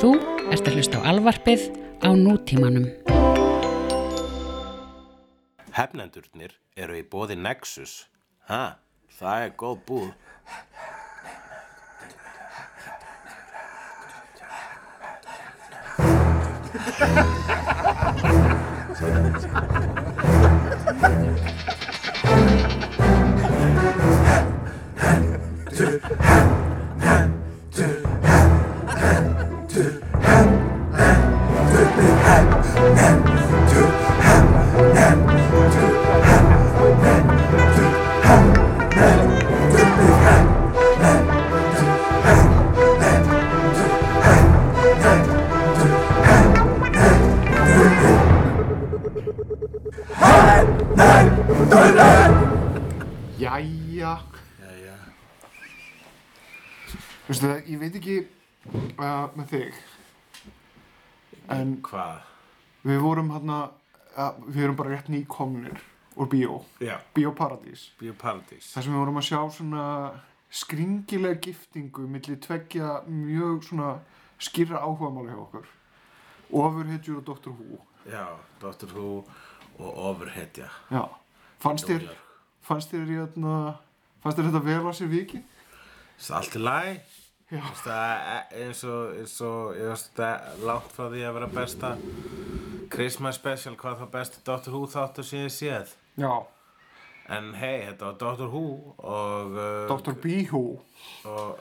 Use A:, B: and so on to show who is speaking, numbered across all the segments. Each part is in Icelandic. A: Þú ert að hlusta á alvarpið á nútímanum.
B: Hefnendurnir eru í bóði Nexus. Ha, það er góð búð.
C: Jæja
B: Jæja.
C: Veistu það, ég veit ekki uh, með þig En
B: Hvað?
C: við vorum hérna uh, Við erum bara rétt nýkomnir úr bíó
B: Já,
C: Bíóparadís
B: Bíoparadís.
C: Þar sem við vorum að sjá svona skringilega giftingu milli tveggja mjög svona skýra áhugamáli hjá okkur Ofurhetjur og Dr. Who
B: Já, Dr. Who og Overhetja.
C: Já, fannst þér fannst þér, hérna, fannst þér þetta vel á sér vikið?
B: Það er allt í lagi.
C: Já.
B: Það er eins og, eins og, ég veist það e- langt frá því að vera besta Christmas special, hvað þá besti Dr. Who þáttur sem ég séð.
C: Já,
B: En hei, þetta var Dr. Who og... Uh,
C: Dr. Bíhú
B: Og,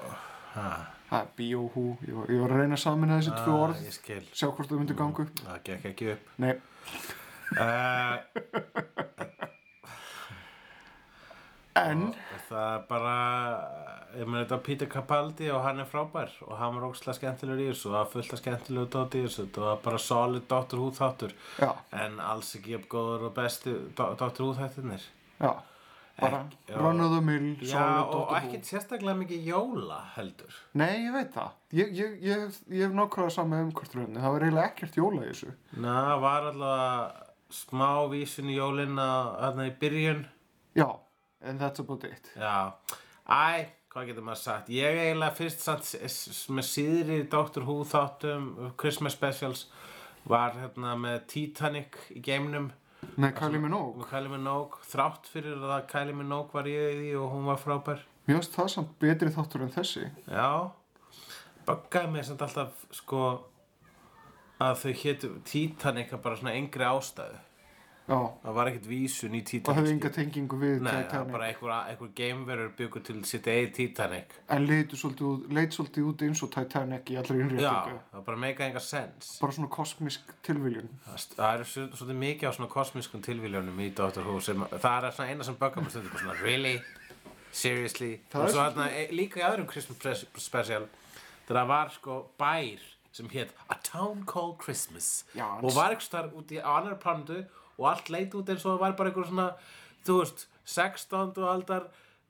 B: ha,
C: Það er bíóhú, ég var, ég var að reyna að samina þessi tvö
B: ah,
C: orð,
B: ég skil. Mm.
C: sjá hvort þau myndu gangu.
B: Það gekk ekki upp.
C: Nei,
B: Uh,
C: en,
B: Það er bara, ég meina þetta er Peter Capaldi og hann er frábær og hann var ógslag skemmtilegur í þessu og það var fullt af skemmtilegu dótt í þessu þetta var bara solid Dr. Who þáttur
C: já,
B: en alls ekki upp góður og besti Do- Dr. Who þættirnir
C: já, bara
B: Ekki- já.
C: run of the mill,
B: Já
C: solid
B: og
C: Dr. Who.
B: ekkert sérstaklega mikið jóla heldur
C: Nei, ég veit það. Ég, ég, ég, hef- ég hef nokkruða saman um hvort rauninni, það var eiginlega ekkert jóla í þessu.
B: Na, var allavega smá vísun í jólin að þarna í byrjun
C: Já, and that's about it.
B: Já, æ, hvað getur maður sagt Ég eiginlega fyrst samt s- s- með síðri Dr. Who þáttum Christmas Specials var hérna með Titanic í geimnum
C: Nei, Kylie Minogue,
B: með Kylie Minogue þrátt fyrir að Kylie Minogue var ég í því og hún var frábær
C: mér finnst það samt betri þáttur en þessi.
B: Já, buggaði mér samt alltaf sko að þau hétu Titanic að bara svona engri ástæðu
C: Já,
B: Það var ekkert vísun í
C: það hefði
B: Titanic sko.
C: enga tengingu við
B: Nei, það var
C: Titanic.
B: bara einhver, einhver geimverur byggur til sitt eigið Titanic
C: En leit svolítið, út- leit svolítið út eins og Titanic í allri innréttingu.
B: Já, það bara meika enga sens
C: Bara svona kosmisk tilviljun.
B: Það það eru svo- svolítið mikið á svona kosmískum tilvíljónum í Doctor Who sem það er svona eina sem böggar mér stundum bara svona really, seriously
C: Það
B: og
C: er
B: svo hérna e- líka í öðrum Christmas pres- special þegar það var sko bær sem hétt A Town Called Christmas
C: Já, en-
B: og var ekki þar úti á annar plantu og allt leit út eins og það var bara einhver svona þú veist, 16. aldar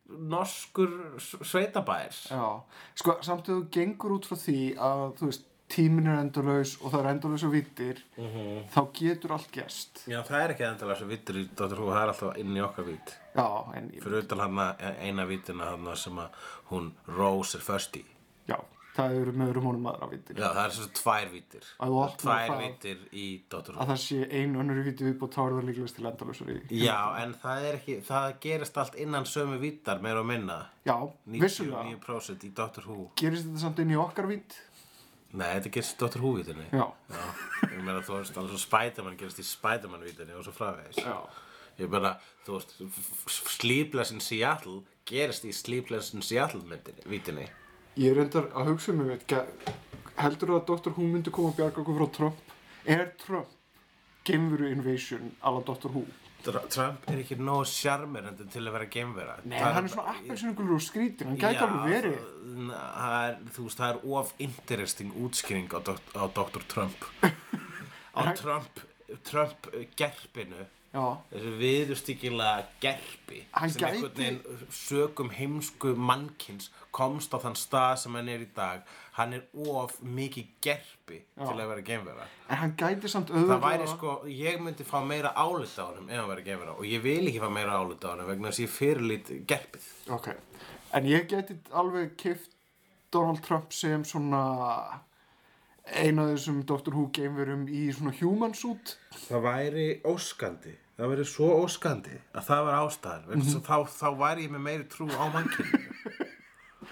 B: norskur s- sveitabær
C: Já, sko samt að þú gengur út frá því að þú veist tíminn er endalaus og það er endalaus og vittir
B: Mhm.
C: þá getur allt gerst
B: Já, það er ekki endalega svo vittur í Doctor Who það er alltaf inn í okkar vitt
C: Já, en
B: fyrir utan hann e- eina vítina hann sem að hún Rose er först í
C: já, það eru með öðrum honum aðra vittir
B: já það er svo tvær vítir
C: Að þú opnar
B: tvær
C: það.
B: vítir í Dr.
C: að
B: Who
C: það sé einu önnur vitti viðbútt þá er það líklegast til endalausar í
B: já en það er ekki það gerist allt innan sömu vítar meira og minna
C: Já, vissulega
B: 99% í Dr. Who
C: gerist þetta samt inn í okkar vitt
B: nei þetta gerist í Dr. Who vítinni
C: Já,
B: já ég meina þú veist alveg svo Spiderman gerist í Spiderman vítinni og svo fravegis
C: já,
B: ég meina þú veist f- f- Sleepless in Seattle gerist í Sleepless in Seattle myndinni, vítinni
C: ég er endar að hugsa um mig heldur að Dr. Who myndi koma að bjarga okkur frá Trump er Trump geimveru invasion alla Dr. Who
B: Dr- Trump er ekki nógu sjarmerandi til að vera geimvera
C: Nei, hann er svona appelsinugulur og skrítin, hann gæti alveg verið
B: það- það er, þú veist, það er of interesting útskýring á, dokt, á Dr. Trump á Trump Trump gerpinu
C: Já,
B: þessu viðustíkilega gerpi
C: Hann
B: sem
C: gæti-
B: einhvern veginn sögum heimsku mannkins komst á þann stað sem hann er í dag hann er of mikið gerpi til að vera geimvera
C: en hann gæti samt
B: það
C: auðvitað
B: væri sko, ég myndi fá meira álita á honum ef hann væri geimvera og ég vil ekki fá meira álita á honum vegna þess að ég fyrirlít gerpið
C: Ok, en ég gæti alveg kift Donald Trump sem svona eina af þessum Dr. Who gameverum í svona human suit
B: það væri óskandi það væri svo óskandi að það var ástæðan mm -hmm. þá, þá væri ég með meiri trú á mannkinu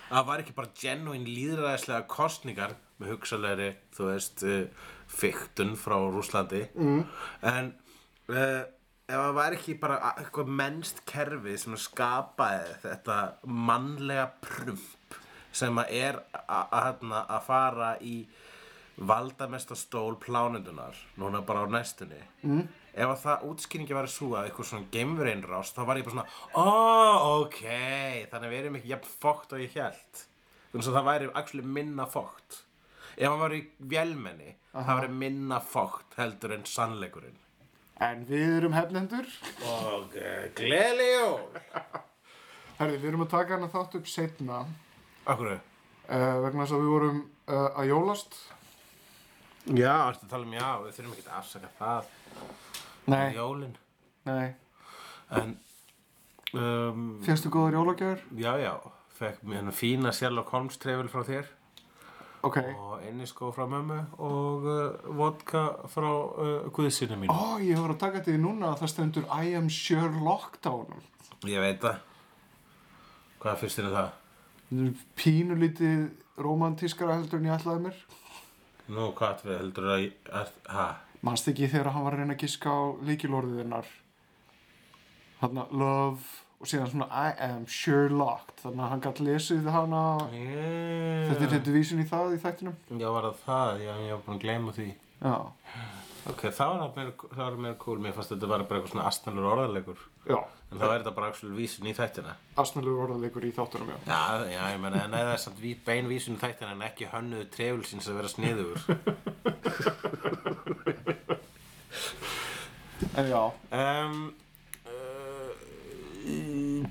B: það var ekki bara genuine líðræðislega kostningar með hugsalegri, þú veist uh, fiktun frá Rúslandi mm. en uh, ef það væri ekki bara a- eitthvað mennst kerfi sem skapaði þetta mannlega prump sem að er a- a- þarna að fara í valdamesta stól plánundunar núna bara á næstunni mm. ef að það útskýringi væri svo að eitthvað svona geimureinrás þá var ég bara svona ó, ok, þannig að við erum ekki jafn fókt og ég held þannig að það væri actually minna fókt ef hann var í vélmenni það væri minna fókt heldur en sannleikurinn
C: en við erum hefnendur
B: ok, gleðiljó
C: herði, við erum að taka hana þátt upp setna uh,
B: okkur,
C: eh, vegna þess að við vorum uh, að jólast
B: já, ertu að tala um já við þurfum ekki að afsaka það
C: nei,
B: jólin,
C: nei,
B: en um,
C: fyrstu góðar jólagjör
B: já, já fekk mér hennar fína Sherlock Holmes trefil frá þér
C: ok,
B: og enniskó frá mömmu og uh, vodka frá uh, guðsynu mínu.
C: ó, ég var að taka þetta í núna að það stendur I am sure lockdown
B: Ég veit það. Hvað finnst þér um það?
C: pínulítið romantískara heldur en ég ætlaði mér
B: Nú, hvað ætlum við heldur að... ég- að ha?
C: manst ekki þegar hann var að reyna að giska á líkilorðiðinnar hann að love og síðan svona I am sure locked þannig að hann gætt lesið hana
B: Yeah.
C: þetta er þetta vísin í það í þættinum
B: Já, var það það? Já, ég var búin að gleyma því.
C: já,
B: Ok, það var meira, það var meira cool. Mér fannst þetta var bara eitthvað svona astnalur orðalegur.
C: já,
B: En það er þetta bara axlur vísin í þættina.
C: asnalur orðalegur í þáttunum já
B: Já, já, ég menna, en eða samt ví- bein vísun í þættina en ekki hönnuðu trefulsins að vera sniðugur.
C: en Eh, já,
B: um, uh,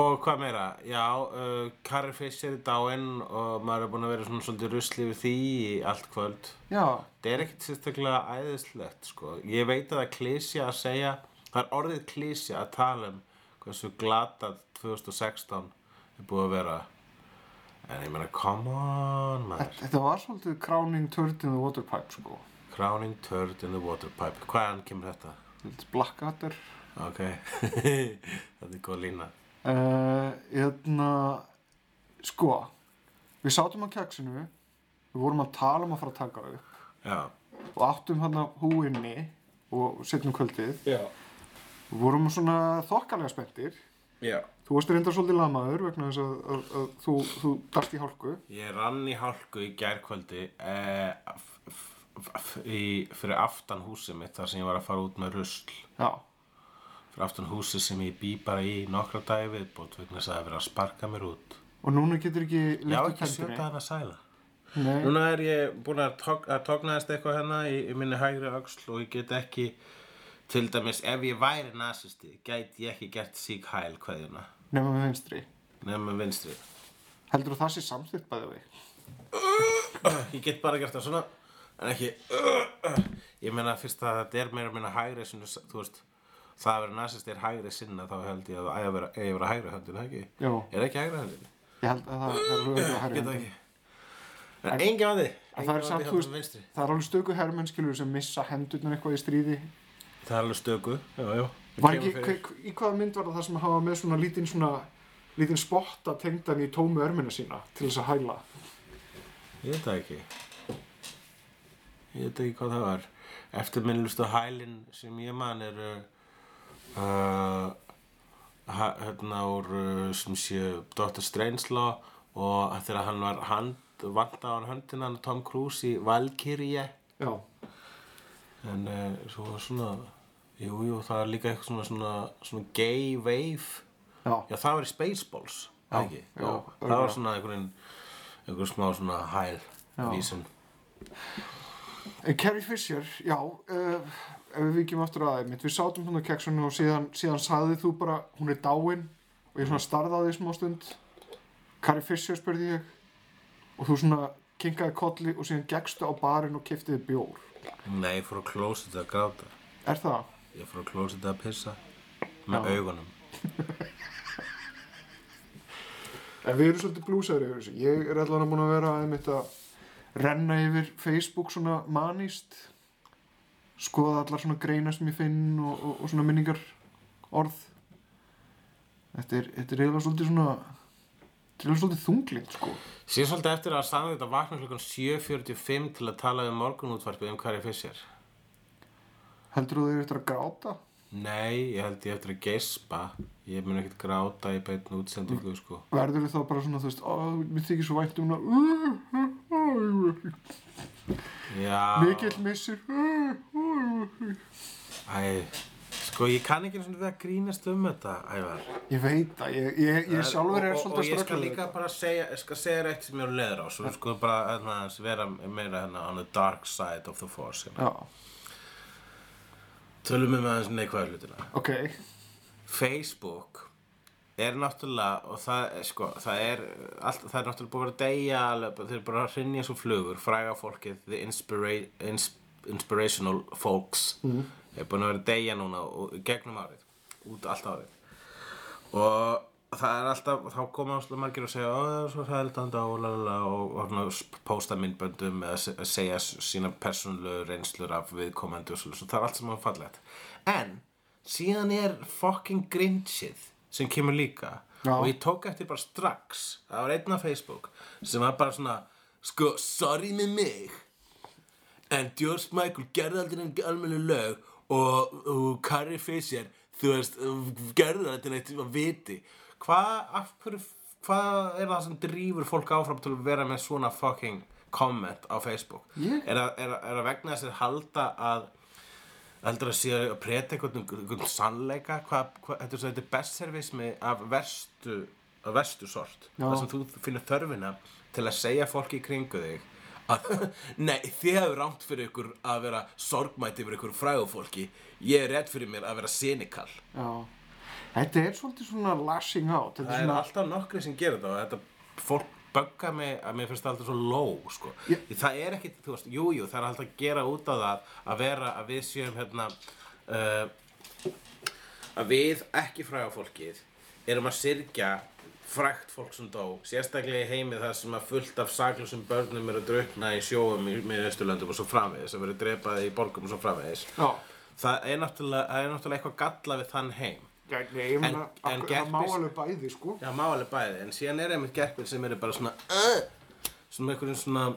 B: Og hvað meira? Já, uh, Carrie Fisher er dáinn og maður er búinn að vera svona svolítið rusli við því í allt kvöld
C: já,
B: Það er ekkert sérstaklega æðislegt sko Ég veit að það er klísja að segja Það er orðið klísja að tala um hversu glatað 2016 er búið að vera En ég meina, come on maður
C: þetta var svolítið crowning turd in the water pipe sko
B: Crowning turd in the water pipe Hvaðan kemur þetta?
C: Þetta blackadder
B: Ok, þetta er góð lína
C: uh, hérna sko við sátum á kjaksinu við vorum að tala um að fara að taka upp
B: Já.
C: og áttum hann af húinni og setnum kvöldið
B: Já.
C: Við vorum svona þokkalega spenntir
B: Já.
C: þú varst reyndar svolítið lamaður vegna þess að, að, að þú, þú dast í hálku
B: Ég rann í hálku í gærkvöldi eh, f- f- f- í, fyrir aftan húsið mitt þar sem ég var að fara út með rusl.
C: já,
B: Fyrir aftan húsið sem ég bý bara í nokkra dagi viðbót vegna þess að það er verið að sparka mér út.
C: og núna getur ekki lyft
B: Já,
C: upp
B: ekki
C: hendinni.
B: sjöta hana sæla.
C: Nei,
B: Núna er ég búin að, tók, að tóknaðist eitthvað hérna í, í minni hægri öxl og ég get ekki, til dæmis ef ég væri nasisti, gæti ég ekki gert sík hæl kveðjuna.
C: nema með vinstri
B: Nefnum vinstri.
C: heldur þú það sé samþýtt bæði við
B: Ég get bara gert það svona En ekki Ég meina fyrst að þetta er meira meina hægri sinu, Þú veist Það að vera nasist er hægri sinna Þá held ég að það eigi að vera, eigi að vera hægri höndin ekki?
C: Jú.
B: Er ekki hægri höndin?
C: ég held að það er lögur að
B: Geta
C: herja
B: ekki En engin vandi
C: En það er samt, þú
B: höndin
C: veist,
B: vinstri
C: það er alveg stöku herrmenn skilur sem missa hendurnar eitthvað í stríði.
B: Það er alveg stöku Já, já
C: Var ekki, hver, í hvaða mynd var það það sem hafa með svona lítinn svona, lítinn spotta tengdan í tómu örmina sína til þess að hæla?
B: Ég veit það ekki Ég veit ekki hvað það var Eftirminnlustu hælin sem ég man er uh, hæ, hérna úr uh, sem sé Dr. Strangelá og að þegar hann var hand vant á hann höndina hann Tom Cruise í Valkyrie
C: Já,
B: en uh, svo var svona jú, jú, það er líka eitthvað svona, svona, svona gay wave
C: já,
B: Já, það var í Spaceballs, já, ekki?
C: já,
B: það var svona einhvern einhvern smá svona hæl vísun.
C: En Eh, Carrie Fisher, já, uh, ef við vikjum aftur aðeins mitt, við sátum hún á keksunum og síðan, síðan sagði þú bara, hún er dáin og ég svona starðaði í smá stund. Carrie Fisher spurði ég og þú svona kinkaði kolli og síðan gekkstu á barinn og kiftiði bjór.
B: Nei, ég fór á klósið að gráta.
C: Er það?
B: Ég fór á klósið að pissa með augunum.
C: En við erum svolítið blúsaður yfir þessu. Ég er allavega búin að vera aðeins mitt að renna yfir Facebook svona manist skoða allar svona greinar sem ég finn og, og, og svona minningar orð þetta er, þetta er eiginlega svolítið svona þetta er eiginlega svolítið þunglind sko
B: Sér svolítið eftir að sanna þetta vakna klukkan 7.45 til að tala um morgunútvarpið um Carrie Fisher.
C: heldur þú þeir eftir að gráta?
B: Nei, ég held ég eftir að geispa. Ég mun ekkert gráta í beinn útsendingu, sko.
C: verður þú þá bara svona þú veist ó, mér þykir svo vænt um hana
B: Já.
C: mikill missir
B: Æ, sko, ég kann ekki svona við að grínast um þetta, Ævar.
C: ég veit það, ég, ég, ég sjálfur er
B: Og- og-
C: svolítið
B: Og ég
C: að
B: skal
C: ströggla við
B: líka
C: þetta.
B: bara segja, ég skal segja þér eitt sem ég er leður á, svo sko bara hérna, aðeins vera meira hérna on the dark side of the force. Hérna.
C: já,
B: Tölum við með aðeins neikvæðu hlutina.
C: ok
B: Facebook er náttúrulega og það, er, sko, það er allt, það er náttúrulega búið að vera að deyja alveg, bara- þeir eru bara að hrynja svo flugur fræga fólkið, the inspira ins inspirational folks er búin að vera að deyja núna og, í gegnum árið, út allt árið og það er alltaf þá koma áslega margir og segja "Ó, það er svo hældanda og lalala og, og svona s- posta myndböndum eða se- segja s- sína persónulegu reynslur af viðkomandi og svolítið, það er allt sem er fallegt en síðan er fucking grinchið sem kemur líka
C: Já.
B: og ég tók eftir bara strax það var einn af Facebook sem var bara svona sko, sorry með mig En George Michael gerði aldrei enn almennu lög og, og Carrie Fisher, þú veist, gerði aldrei neitt að viti. Hvað, af hverju, hvað er það sem drýfur fólk áfram til að vera með svona fucking comment á Facebook?
C: Ég?
B: Er að, er að, er að vegna þessir halda að, heldur að sé að preta einhvern, einhvern sannleika? Hvað, hvað, þetta er svo, þetta er bestservismi af verstu, af verstu sort.
C: Já.
B: Það sem þú finnur þörfina til að segja fólki í kringu þig að, nei, þið hefur rámt fyrir ykkur að vera sorgmæti yfir ykkur frægufólki ég er rétt fyrir mér að vera sinikal
C: já þetta er svolítið svona lashing out þetta
B: það
C: er
B: er
C: svona
B: alltaf nokkri sem gerir þetta og þetta fólk bögga mig að mér finnst það alltaf svo ló sko.
C: Ég-
B: það er ekkit, þú veist, jújú jú, það er alltaf að gera út á það að vera að við séum hérna uh, að við ekki frægafólkið erum að syrgja frægt fólk sem dó sérstaklega í heimi þar sem að fullt af saklusum börnum eru að draukna í sjóum í, í Östurlöndum og svo framvegis að vera drepaði í borgum og svo framvegis
C: Já.
B: það er náttúrulega, það er náttúrulega eitthvað galla við þann heim
C: Já, nei, ég meina,
B: En- en
C: af- það má
B: gerpis-
C: alveg bæði, sko.
B: Já, má alveg bæði, en síðan er einmitt gerpir sem eru bara svona uh, svona einhverjum svona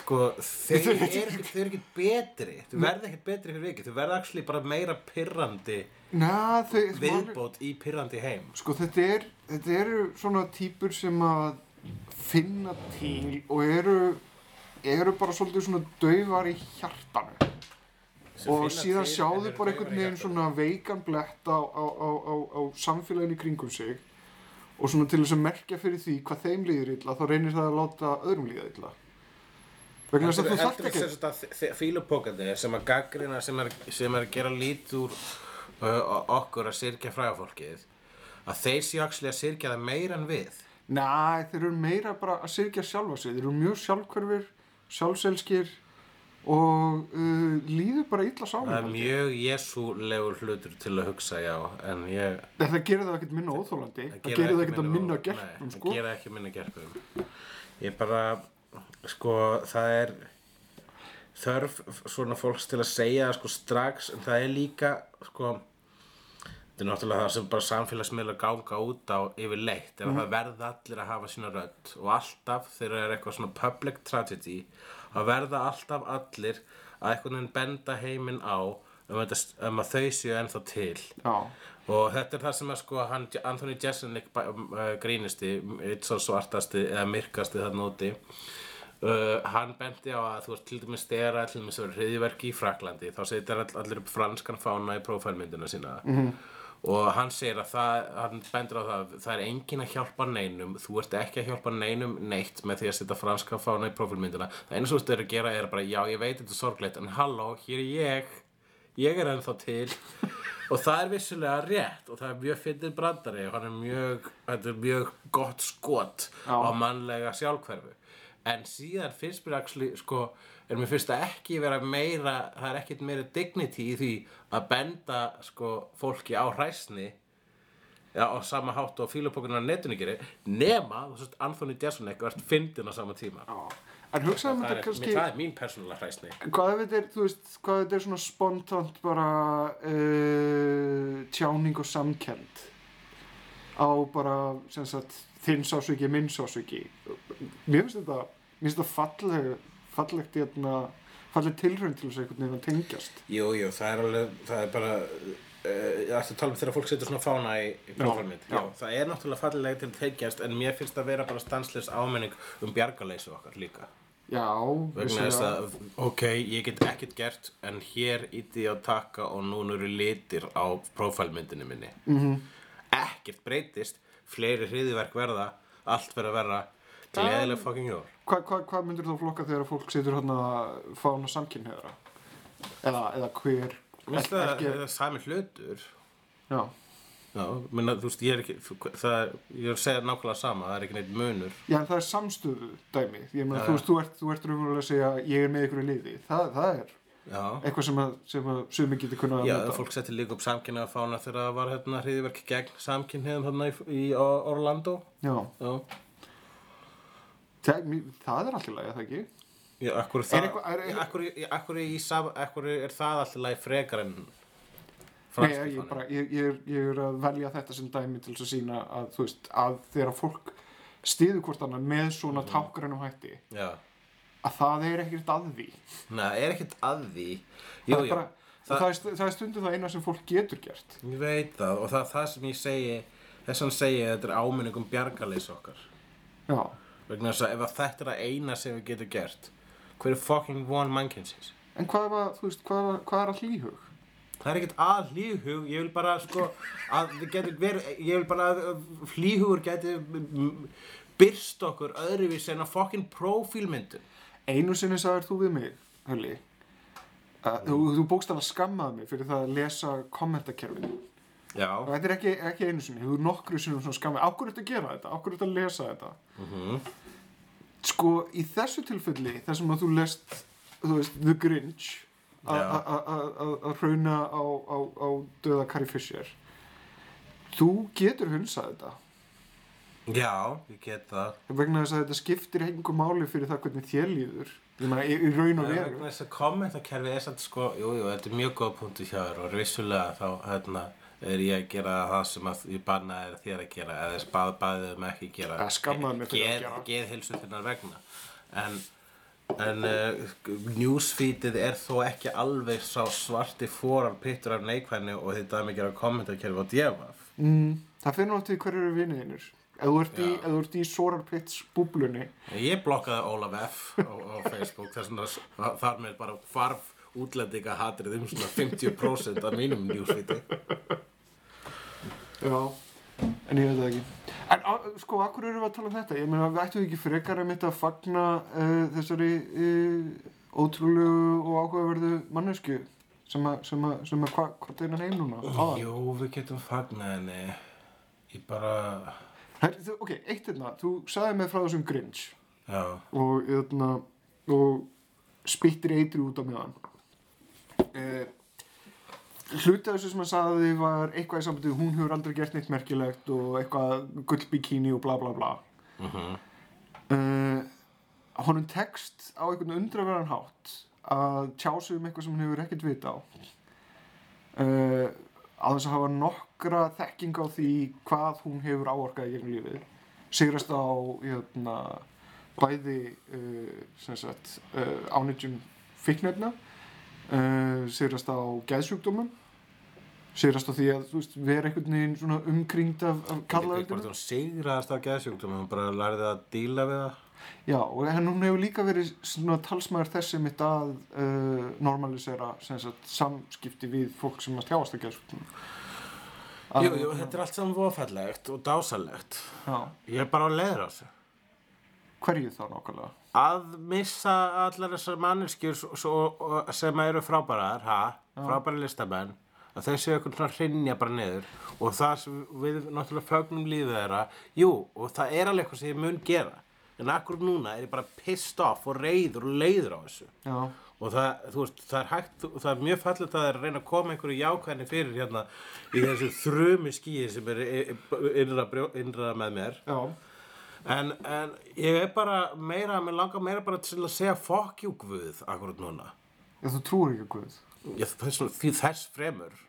B: sko, þeir eru ekki, þau eru ekki betri þau verða ekki betri fyrir vikið, þau verða actually bara meira pirrandi
C: Næ, þau, málið-
B: viðbót í pirrandi heim
C: sko, þetta, er, þetta eru svona típur sem að finna til og eru, eru bara svolítið svona daufar í hjartanu.
B: Sem
C: og
B: finna
C: síðan
B: til en
C: sjáðu
B: eru daufar í
C: bara einhvern veginn
B: hjartanu.
C: svona veikan blett á, á, á, á, á samfélaginu í kringum sig og svona til þess að merkja fyrir því hvað þeim líður illa þá reynir það að láta öðrum líða illa vegna þess að þú þarft ekki
B: ekki Fílupókandi sem að gaggrina sem er, sem er að gera lít úr uh, okkur að syrkja frægafólkið að þeir séu actually að syrkja það meira en við
C: Næ, þeir eru meira bara að syrkja sjálfa sig. Þeir eru mjög sjálfkörfir, sjálfselskir og uh, líður bara illa
B: Það er
C: sálinni.
B: mjög jesúlegur hlutur til að hugsa, já, en ég...
C: Það, það gerir það ekkert minna óþólandi. Það gerir það ekkert að minna gerpum,
B: Nei,
C: sko.
B: það gerir ekki minna gerpum. Ég bara, sko, það er þörf svona fólks til að segja það, sko, strax, en það er líka, sko, þetta er náttúrulega það sem bara samfélagsmiðla ganga út á yfirleitt,
C: Mhm.
B: er að það verða allir að hafa sína rödd og alltaf þegar er eitthvað svona public tragedy, að verða alltaf allir að einhvern veginn benda heiminn á um, þetta, um að þau séu ennþá til
C: Já,
B: og þetta er það sem að sko hann, Anthony Jeselnik bæ- uh, grínisti eitt svo svartasti eða myrkasti þarna úti uh, hann bendi á að þú veist til dæmis stera til dæmis að hriðiverki í Fraklandi þá setur all, allir upp franskan fána í prófælmyndina sína -hmm. og hann segir að það, hann bendir á það það er engin að hjálpa neinum þú ert ekki að hjálpa neinum neitt með því að setja franskan fána í prófælmyndina það einu svo þetta er að gera er bara já ég veit þetta er sorglegt en halló hér er ég ég er ennþá til og það er vissulega rétt og það er mjög fyndin brandari og hann er mjög, þetta er mjög gott skot
C: Já.
B: á mannlega sjálfhverfu en síðan finnst mér actually, sko, er mér finnst að ekki vera meira, það er ekkert meira dignity í því að benda sko, fólki á hræsni Já, á sama hátt og fílapokkurinn á netinu gerir nema, þú veist, Anthony Jeselnik vart fyndin á sama tíma
C: Já. En hugsaðum
B: það er,
C: þetta
B: kannski...
C: kannski,
B: það er mín persónulega hræsni
C: hvað ef þetta er, þú veist, hvað ef þetta er svona spontant bara uh, tjáning og samkend á bara, sem sagt, þinn sásviki, minn sásviki. Mér finnst þetta, mér finnst þetta falleg, fallegt, hérna, falleg tilraun til þess að einhvern veginn að tengjast.
B: Jú, jú, það er alveg, það er bara Ég ætti að tala um þegar fólk setur svona fána í, í prófarmynd já.
C: já.
B: það er náttúrulega fallilega til þeggjast en mér finnst það vera bara stanslis ámenning um bjargaleysu okkar líka
C: Já,
B: vegna þess að, ok, ég get ekkert gert en hér íti ég á takka og núna eru litir á prófælmyndinu minni -hmm. ekkert breytist fleiri hriðiverk verða allt verða verða gleðileg fucking jól
C: Hvað hva, hva myndir þú flokka þegar fólk setur hann að fána samkynniðra? Eða, eða hver?
B: Mér finnst það
C: ekki-
B: það er sami hlutur
C: Já,
B: Já, minna, þú veist, ég er ekki þú- það, er- ég er að segja nákvæmlega sama, það er ekki neitt munur
C: já en það er samstöðu dæmi. Ég meina,
B: Já,
C: þú
B: já.
C: veist, þú ert, þú ert raunverulega að segja ég er með ykkur í liði. Það, það er
B: Já,
C: eitthvað sem að, sem að sumi getur kunnað að
B: Já,
C: meta.
B: fólk setti líka upp samkynnaða fána þegar það var hérna hriðiverk gegn samkynniðum þarna í, í Orlando
C: Já,
B: Já,
C: það, mér- það er alltaf lægið, það ekki?
B: Já, akkur það,
C: eitthvað- er- er-
B: akkur, akkur, í, sam, akkur er það alltaf læg frekar en
C: Nei,
B: franski
C: ég,
B: fáninn?
C: bara, ég, ég, er, ég er að velja þetta sem dæmi til þess að sína að, þú veist, að þegar fólk stiður hvort annað með svona tákrænum hætti,
B: Já,
C: að það er ekkert að því.
B: Nei, er ekkert að því Jú,
C: Það er
B: jú,
C: bara-
B: það-
C: það er stu- það er stundum það eina sem fólk getur gert.
B: ég veit það og það er það sem ég segi þess að segi að þetta er áminning um bjargaleys okkar
C: Já,
B: vegna þess að ef að þetta er að eina sem við getum gert hver er fucking von mannkynsins
C: en hvað var, þú veist, hvað, var, hvað er að hlýhug?
B: Það er ekkert að hlýhug, ég vil bara sko að við getum verið, ég vil bara að að hlýhugur geti byrst okkur öðruvís en að fokkin prófílmyndum.
C: Einu sinni sagðir þú við mig, Hulli, að þú, þú bókst alveg skammaði mig fyrir það að lesa kommentakerfinu.
B: Já.
C: Og þetta er ekki, ekki einu sinni, þú nokkru sinnum svona skammaði, ákvörðu þetta að gera þetta, ákvörðu þetta að lesa þetta. Sko, í þessu tilfelli, þar sem að þú lest, þú veist, The Grinch, a-
B: Já.
C: a- a- a- a- að hrauna á, á, á döða Carrie Fisher, þú getur hunsað þetta.
B: Já, ég get það.
C: vegna þess að þetta skiptir engu máli fyrir það hvernig þér líður ég meina, í, í raun og
B: En
C: veru
B: vegna þess að kommentakerfi er samt sko, jú, jú, þetta er mjög góð punktu hjá þér og vissulega þá, hérna, er ég að gera það sem að ég bannaði er þér að gera eða þess bað, baðið um ekki að gera.
C: Eða skammaði mig fyrir að
B: Geð-
C: gera.
B: Geðheilsu þinnar vegna. En, en uh, newsfeedið er þó ekki alveg sá svarti fóran pittur af neikvæðinu og þetta er mikið að kommentakerfi á djöfaf.
C: mm, það finnur átt við hverju eru viniðinir ef þú ert í,
B: Já.
C: ef þú ert í Sorar Pits búblunni
B: Ég blokkaði Ólaf F. á, á Facebook þess vegna s- þa- þar með bara hvarf útlendinga hatrið um svona 50% af mínum newsfeedi.
C: já, en ég veit það ekki en á, sko, akkur erum við að tala um þetta ég meina, við ættum við ekki frekar að mitt að fagna uh, þessari uh, ótrúlegu og áhugaverðu mannesku sem að, sem að, sem að hva, hvað deyna heim núna áðan.
B: Jú, við getum fagnað henni. Ég bara,
C: Her, þú, ok, eitt hérna, þú sagði mig frá þessum Grinch
B: já,
C: og, jötna, og spittir eitri út á meðan uh, hluti af þessu sem hann sagði var eitthvað í sambandi, hún hefur aldrei gert neitt merkilegt og eitthvað gullbikini og bla bla bla uh honum tekst á einhvern undraverðan hátt að tjá sig um eitthvað sem hann hefur ekkert vita á uh, að þess að hafa nokkra þekking á því hvað hún hefur áorkað í gegnum lífið sigrast á jötna, bæði uh, sem sagt uh, ánýtjum fíknefna uh, sigrast á geðsjúkdómum sigrast á því að þú veist, vera einhvern veginn svona umkringd af, af
B: ég veit
C: kallaðið
B: bara að hún sigraðast af geðsjúkdómi, hún bara lærði að díla við það.
C: Já, og en hún hefur líka verið svona talsmaður þessi mitt að uh, normalisera sem sagt, samskipti við fólk sem að tjáast að geðsjúkdómum
B: Jú, jú, þetta er allt saman vofallegt og dásalegt.
C: Já,
B: Ég er bara á leiður á þessu.
C: hverju þá nákvæmlega?
B: Að missa allar þessar manneskjur svo, svo, sem eru frábærar, ha, frábæra listamenn, að þau séu eitthvað svona hrinja bara niður og það sem við náttúrulega fögnum lífið þeirra, jú, og það er alveg eitthvað sem ég mun gera. en akkur núna er ég bara pissed off og reyður og leiður á þessu
C: já,
B: og það, þú veist, það er hægt það er mjög fallegt að það er að reyna að koma einhverju jákvæðni fyrir hérna í þessu þrömi skýi sem er innra, brjó- innra með mér
C: já,
B: en, en ég er bara meira, mér langar meira bara til að segja fuck you guð akkurat núna
C: já, þú trúir ekki að Guð
B: ég, þess, því þess fremur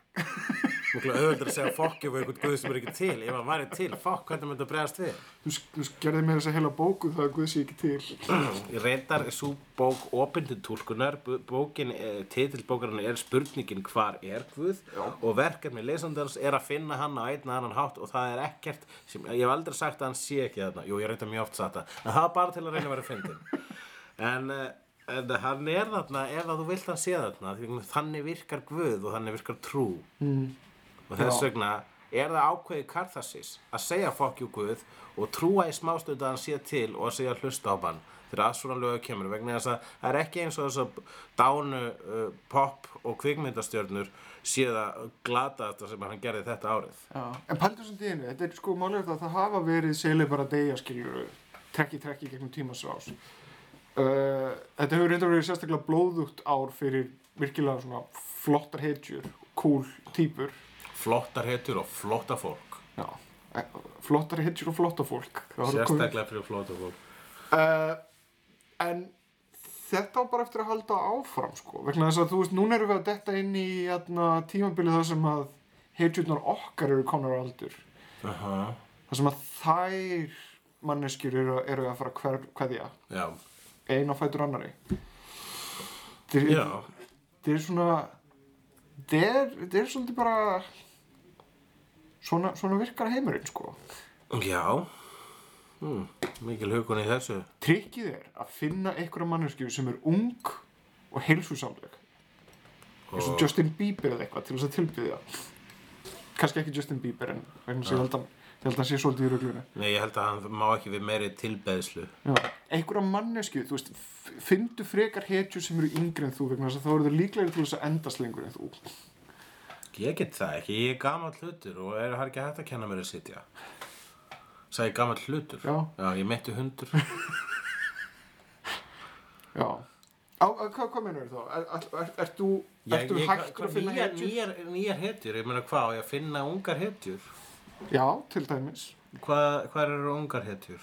B: mjög auðvitað að segja fuck you við einhvern guð sem er ekki til ef hann væri til, fuck, hvernig myndi að bregðast við
C: þú, s- þú s- gerði mér þess að heila bóku það að Guð sé ekki til
B: Ég reyndar er svo bók opindin túlkunar, B- bókin, titilbókarinn er spurningin hvar er Guð og verkefni lesandans er að finna hann á einn annan hátt og það er ekkert sem, ég hef aldrei sagt að hann sé ekki þarna, jú ég reyndar mjög oft sagt það, en það var bara til að reyna að vera fyndin. En, eh, en hann er þarna ef að þú vilt hann sé þarna, því þannig virkar Guð og þannig virkar trú mm. og þess
C: Já.
B: vegna er það ákveði karþasis að segja fokk jú Guð og trúa í smástund að hann sé til og að segja hlusta á hann þegar að svona lögu kemur vegna þess að það er ekki eins og þess að dánu uh, pop og kvikmyndastjörnur séu það glata þetta sem hann gerði þetta árið
C: já. en pældur sem dýinu, þetta er sko málið er það að það hafa verið selið bara deyja skiljur trekki trekki gegnum tímans rás uh, þetta hefur reynda verið sérstaklega blóðugt ár fyrir virkilega svona flottar hetjur cool típur
B: flottar hetjur og flotta fólk
C: já, eh, flottar hetjur og flotta fólk Það var komið-
B: sérstaklega fyrir flotta fólk
C: uh, en þetta á bara eftir að halda áfram sko, vegna þess að þú veist, núna erum við að detta inn í jæna, tímabilið þar sem að heitjurnar okkar eru konar á aldur
B: uh -huh.
C: þar sem að þær manneskjur eru, eru að fara að hver, hverja
B: já,
C: ein á fætur annari þeir,
B: já
C: þeir svona þeir, þeir er svolítið bara svona, svona virkar heimurinn sko
B: Já hmm. Mikil hugun í þessu
C: trikkið er að finna einhverja manneskju sem er ung og heilsusamleg eins og Justin Bieber eða eitthvað til þess að tilbyðja kannski ekki Justin Bieber en vegna þess að ég held að ég held að hann sé svolítið í röglunni
B: Nei, ég held að hann má ekki við meiri tilbeðslu
C: einhverja mannesku, þú veist f- finndu frekar hetjur sem eru yngri en þú vegna þess að þá eru þau líklegri til þess að endast lengur en þú
B: Ég get það ekki, ég er gamall hlutur og er það ekki hægt að kenna mér að sitja Sæði gamall hlutur
C: Já.
B: ég meitti hundur
C: já á, á, hvað, hvað mennur þá? Er, er, er, er þú, ert þú hægt að finna
B: nýjar,
C: hetjur?
B: nýjar, nýjar hetjur, ég meina hvað á ég að finna ungar hetjur
C: já, til dæmis
B: Hvað, hvað eru ungar hetjur?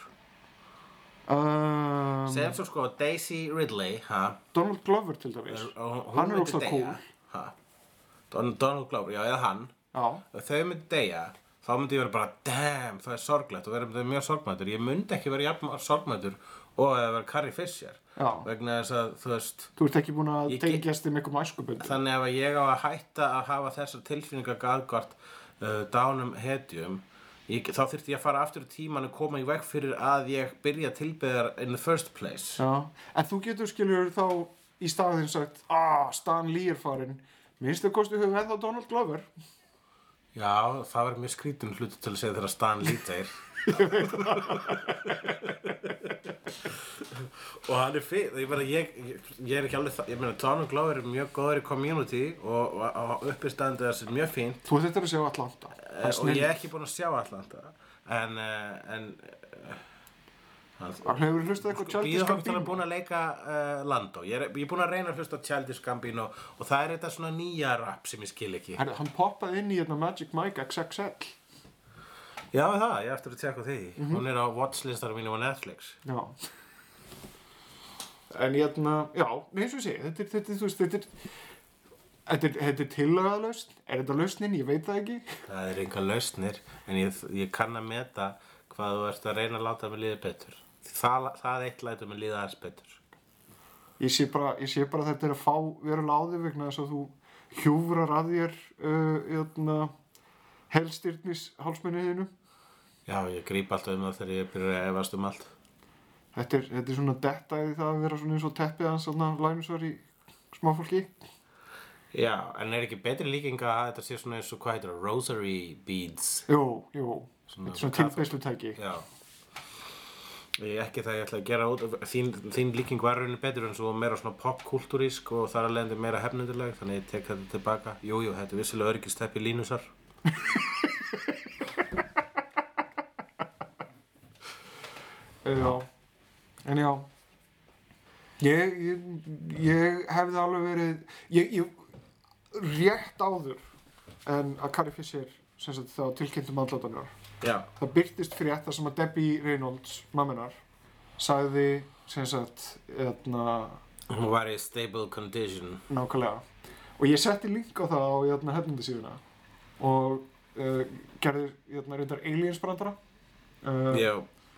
C: um,
B: Sem svo sko Daisy Ridley ha?
C: Donald Glover til dæmis
B: Er- og hún
C: hann er
B: myndi
C: óslega
B: deyja.
C: cool
B: Ha? Don, Donald Glover, já eða hann
C: já,
B: ef þau myndi deyja þá myndi ég vera bara damn það er sorglegt og verðum þau mjög sorgmættur ég myndi ekki vera jafn sorgmættur og að vera Carrie Fisher
C: Já.
B: vegna þess að þú veist
C: Þú ert ekki búin að
B: Ég get-
C: tengjast um einhverjum æskuböndum.
B: þannig ef að ég á að hætta að hafa þessar tilfinningar gaðgort uh, dánum hetjum ég, þá þyrfti ég að fara aftur í tíman og koma í veg fyrir að ég byrja tilbyðar in the first place
C: Já, en þú getur skilur þá í staðin sagt, ah, Stan Lee er farinn, minnstu kosti höfum ennþá Donald Glover.
B: Já, það var mjög skrítin hlutu til að segja þegar Stan Lee deyr. og hann er fyrir, ég, meina, ég, ég, ég er ekki alveg það, ég meina Donald Glover er mjög góður í community og, og, og uppistandi þessi er mjög fín
C: Þú ert eftir að sjá Atlanta. Það er
B: Eh, og ég
C: snill.
B: er ekki búinn að sjá Atlanta en, eh, en
C: Hann hefur hlustað eitthvað
B: Býða
C: Childish
B: hann til að
C: Gambino.
B: búin að leika uh, Lando ég er, ég er búinn að reyna að hlusta á Childish Gambino og það er þetta svona nýja rap sem ég skil ekki
C: Herri, hann poppaði inn í hérna Magic Mike XXL.
B: Já það, ég er eftir að tjekka á því hún er á watchlistanum mínum á Netflix
C: Já. En hérna, já, nei, eins og ég segi, þetta er, þetta er, þú veist, þetta er, þetta er, þetta er tillagaðlausn. Er þetta lausnin? Ég veit það ekki.
B: Það er enga lausnir en ég, ég kann að meta hvað þú ert að reyna að láta mig líða betur. Það, það eitt lætur mig líða aðeins betur.
C: Ég sé bara, ég sé bara að þetta er að fá verulega á þig vegna þess að þú hjúfrar að þér uh, jötna, helstyrnis hálsmenniðinu.
B: Já, ég grýp alltaf um það þegar ég byrja að efast um allt.
C: Þetta er, þetta er svona detta í það að vera svona eins og teppið hans svona lænusvar í smáfólki.
B: Já, en er ekki betri líking að þetta sé svona eins og hvað heitir það? Rosary beads.
C: Jú, jú,
B: Svona
C: þetta er svona
B: kaþó-
C: tilbeðslutæki.
B: Já. Ég ekki það ég ætla að gera út af, þín, þín líking var raunin betur en svo meira svona popkultúrísk og þar að leiðandi meira hefnunduleg þannig ég tek þetta tilbaka. Jú, jú, þetta er vissilega öryggisteppi línusar.
C: Já. en já ég, ég, ég hefði alveg verið ég, ég rétt áður en að Carrie Fisher sem sagt þá tilkynntum andlátanar
B: já,
C: það byrtist fyrir þetta sem að Debbie Reynolds mamminar sagði sem sagt eðna,
B: hún var í stable condition
C: nákvæmlega og ég setti link á það á hérna hefnundasíðuna og uh, gerði hérna reyndar aliens brandara uh,
B: já,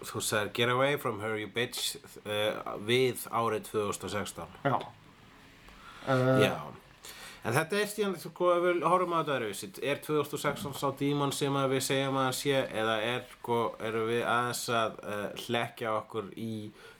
B: þú sagðir get away from her you bitch uh, við árið 2016
C: já uh,
B: Já, en þetta er stíðan, sko, ef við horfum á þetta öðruvísi, er 2016 sá dímon sem að við segjum að hann sé eða er, sko, erum við aðeins að uh, hlekja okkur í,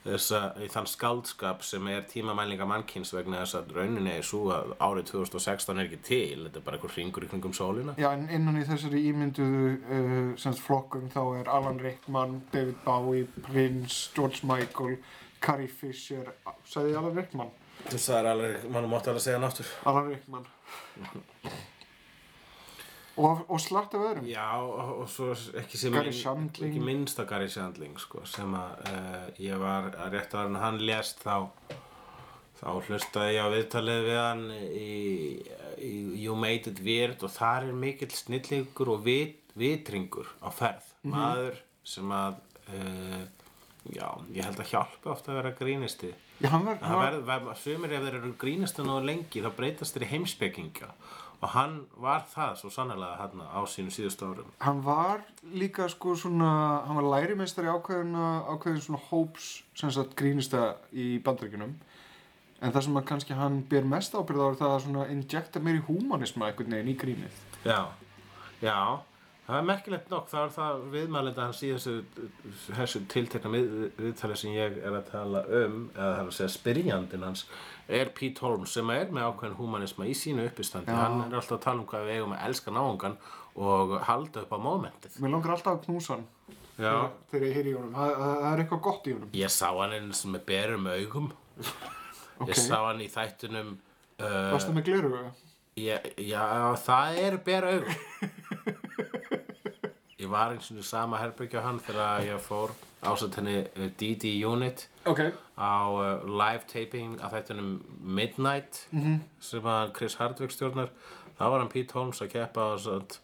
B: þessa, í þann skáldskap sem er tímamælinga mannkyns vegna þess að rauninni er svo að árið 2016 er ekki til, þetta er bara einhver hringur í kringum sólina.
C: Já, en innan í þessari ímynduðu uh, semst flokkum þá er Alan Rickman, David Bowie, Prince, George Michael, Carrie Fisher, sagði ég Alan Rickman?
B: Það er alveg, mannum mátti alveg að segja náttúr.
C: Alan Rickman. og, og slatt af öðrum.
B: Já, og, og svo ekki sem
C: Gary Shandling.
B: ekki minnst að Gary Shandling sko, sem að uh, ég var að rétt ára en hann lést þá þá hlustaði ég á viðtalið við hann í, í You Made It Weird og þar er mikill snillingur og vit, vitringur á ferð
C: Mhm.
B: maður sem að uh, já, ég held að hjálpa ofta að vera grínisti
C: Já, hann var,
B: Það verð, verð, sumir ef þeir eru grínast nógu lengi þá breytast þeir í heimspekinga og hann var það svo sannlega hérna á sínum síðustu árum
C: hann var líka sko svona, hann var lærimeistari ákveðin, ákveðin svona hóps sem sagt grínista í bandreikunum en það sem að kannski hann ber mest ábyrða á er það að svona injekta meiri húmanisma einhvern veginn í grínið
B: Já, já Það er merkilegt nokk, það er það viðmælenda hans í þessu, þessu tiltekna við, viðtali sem ég er að tala um, eða það er að segja spyrjandinn hans, er Pete Holmes sem er með ákveðin húmanisma í sínu uppistandi. Hann er alltaf að tala um hvað við eigum að elska náungan og halda upp á mómentið.
C: Mér langar alltaf að knúsa hann
B: Já.
C: þegar ég heyri í honum. Það, það það er eitthvað gott í honum.
B: Ég sá hann eins og með berum augum.
C: Ok.
B: Ég sá hann í þættunum, uh,
C: Varstu með gleru?
B: ég, já, það er bera augum. Ég var eins og sama herbyggja hann þegar ég fór ásatt henni uh, DD Unit
C: Ok.
B: á uh, live taping af þættunum Midnight -hmm. sem að Chris Hardwick stjórnar þá var hann Pete Holmes að keppa á satt,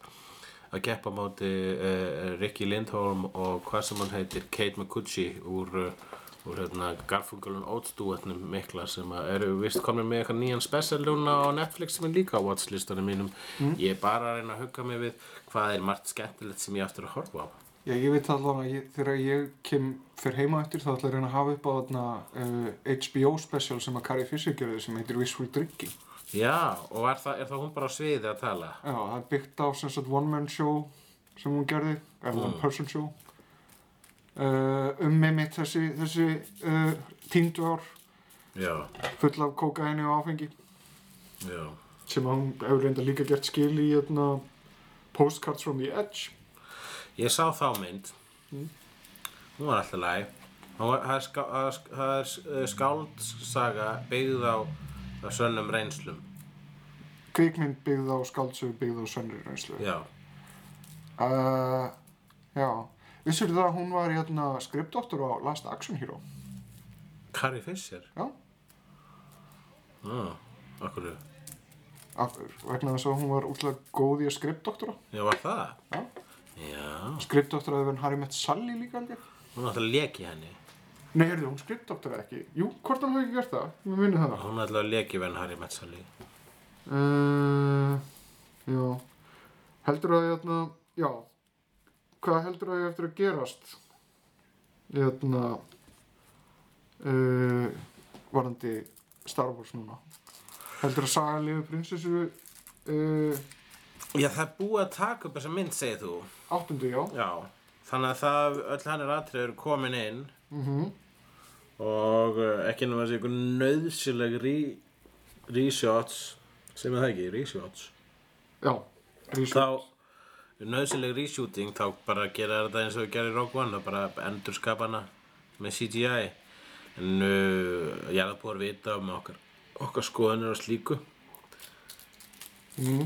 B: að keppa á móti uh, Ricky Lindholm og hvað sem hann heitir Kate McCucci úr, uh, úr hérna, Garfunkel og Oates duetnum mikla sem að eru vist komin með eitthvað nýjan special núna á Netflix sem er líka á watchlistanum mínum ég er bara að reyna að hugga mig við hvað er margt skemmtilegt sem ég á eftir að horfa á
C: Já, ég veit allan að ég, þegar ég kem fyrir heima eftir þá ætla ég að reyna að hafa upp á þarna uh, HBO special sem að Carrie Fisher gerði sem heitir Wishful Drinking.
B: Já, og er, það, er það hún bara á sviði að tala?
C: Já, það er byggt á sem sagt one man show sem hún gerði, eða one person show uh, um með mitt þessi, þessi uh, tíndu ár
B: Já,
C: full af kókaini og áfengi.
B: já
C: sem hann hefur reynda líka gert skil í hérna, Postcards from the Edge
B: Ég sá þá mynd Mm. Hún var alltaf læg Það er, ská, það er- það er eh, skáldsaga byggð á, á sönnum reynslum
C: kvikmynd byggð á skáldsögu byggð á sönnri reynslu
B: Já,
C: uh, já vissur það að hún var hérna, skriptdóttur á Last Action Hero
B: Carrie Fisher
C: já,
B: Já, okkur
C: af, vegna þess að hún var útlega góð í að skriptdóttura
B: Já, var það?
C: Já.
B: Já,
C: skriptdóttura hefur hann Harry Met Sally líka alveg
B: hún alltaf leki henni
C: nei, heyrðu, hún skriptdóttura ekki jú, hvort hann hafi ekki gert það, mér minni það
B: Hún alltaf leki venn Harry Metzali
C: Uh, já. Heldur að hérna, já. Hvað heldur að ég eftir að gerast? Hérna, uh, varandi Star Wars núna. Heldur að saga lifi prinsessu uh,
B: Já, það er búið að taka upp þessa mynd, segir þú
C: áttundu, já.
B: Já, þannig að það, öll hann er atrið eru komin inn
C: Mhm.
B: og uh, ekki nú að sé einhver nöðsileg reshots sem er það ekki, reshots
C: Já, rísu.
B: þá nöðsileg reshooting þá bara gera þetta eins og við gerum í Rogue One þá bara endur skapana með CGI en uh, ég er að búið að vita um okkar, okkar skoðanir og slíku
C: Mm.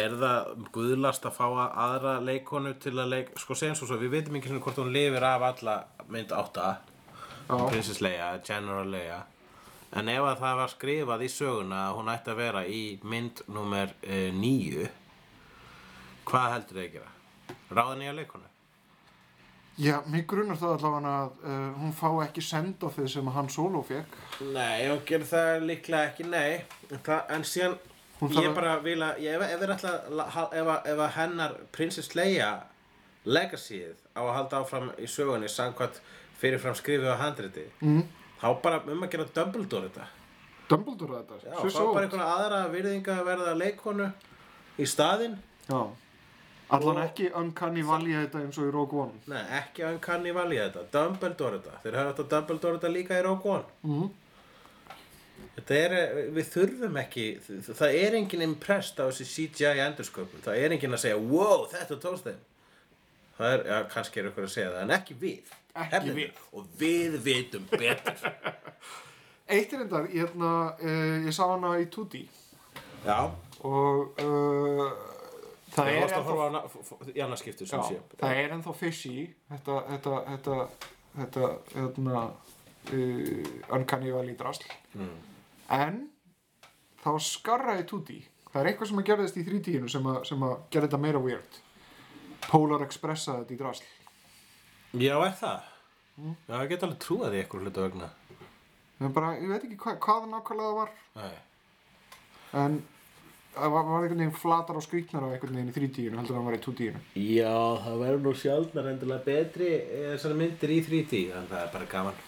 B: Er það guðlast að fá að- aðra leikonu til að leik... Sko segjum svo svo, við veitum ekki hvernig hvort hún lifir af alla mynd átta
C: já,
B: Princess Leia, General Leia en ef að það var skrifað í söguna að hún ætti að vera í mynd nummer eh, níu hvað heldur þið að gera? Ráða nýja leikonu?
C: já, mér grunar það allavega að uh, hún fá ekki send á því sem hann solo fekk
B: Nei, ef hún gerir það líklega ekki, nei en, það, en síðan
C: Hún
B: ég
C: þarf að-
B: bara vil að ég, ef, ef, er ætla, að la- ha- ef, að- ef að hennar Princess Leia legacyð á að halda áfram í sögunni samkvæmt fyrirfram skrifið á handriti
C: Mhm.
B: mm. þá bara um að gera Dumbledore þetta
C: Dumbledore þetta,
B: Já, fá
C: Swiss
B: bara
C: Oates.
B: einhverja aðra virðinga að verða leikonu í staðinn.
C: já, allan ekki uncanny valja þetta eins og í Rogue One
B: Nei, ekki að hann kann í valja þetta. Dumbledore þetta. Þeir hafa þetta Dumbledore þetta líka í Rogue One. -hmm. Þetta er, við þurfum ekki, það er engin impressed á þessi CGI endursköpum. Það er engin að segja, wow, þetta tókst þeim. Það er, já, kannski er ykkur að segja það, en ekki við.
C: Ekki við.
B: Og við vitum betur.
C: Eitt er endar, ég, hérna, uh, ég sá hana í 2D
B: já,
C: og uh, það,
B: ég
C: er
B: varst að
C: ennþá,
B: horfa á hana- f- f- í annarskiptu sem
C: já,
B: sé.
C: það er ennþá fishy þetta, þetta, þetta, þetta, hérna, uh, uncanny valley drasl
B: Mm.
C: en þá skarraði 2D það er eitthvað sem að gerðist í 3D-inu sem, að- sem að gera þetta meira weird Polar Expressa þetta í drasl
B: Já, er það?
C: Mhm.
B: Já, ég get alveg trúað því eitthvað hluta vegna.
C: en bara, ég veit ekki hvað, hvað nákvæmlega það var
B: Nei.
C: en það var, var einhvern veginn flatar og skrýtnar á einhvern veginn í 3D-inu heldur en það var í 2D-inu
B: Já, það verður nú sjálfnar endilega betri eh, þessar myndir í 3D, en það er bara gaman.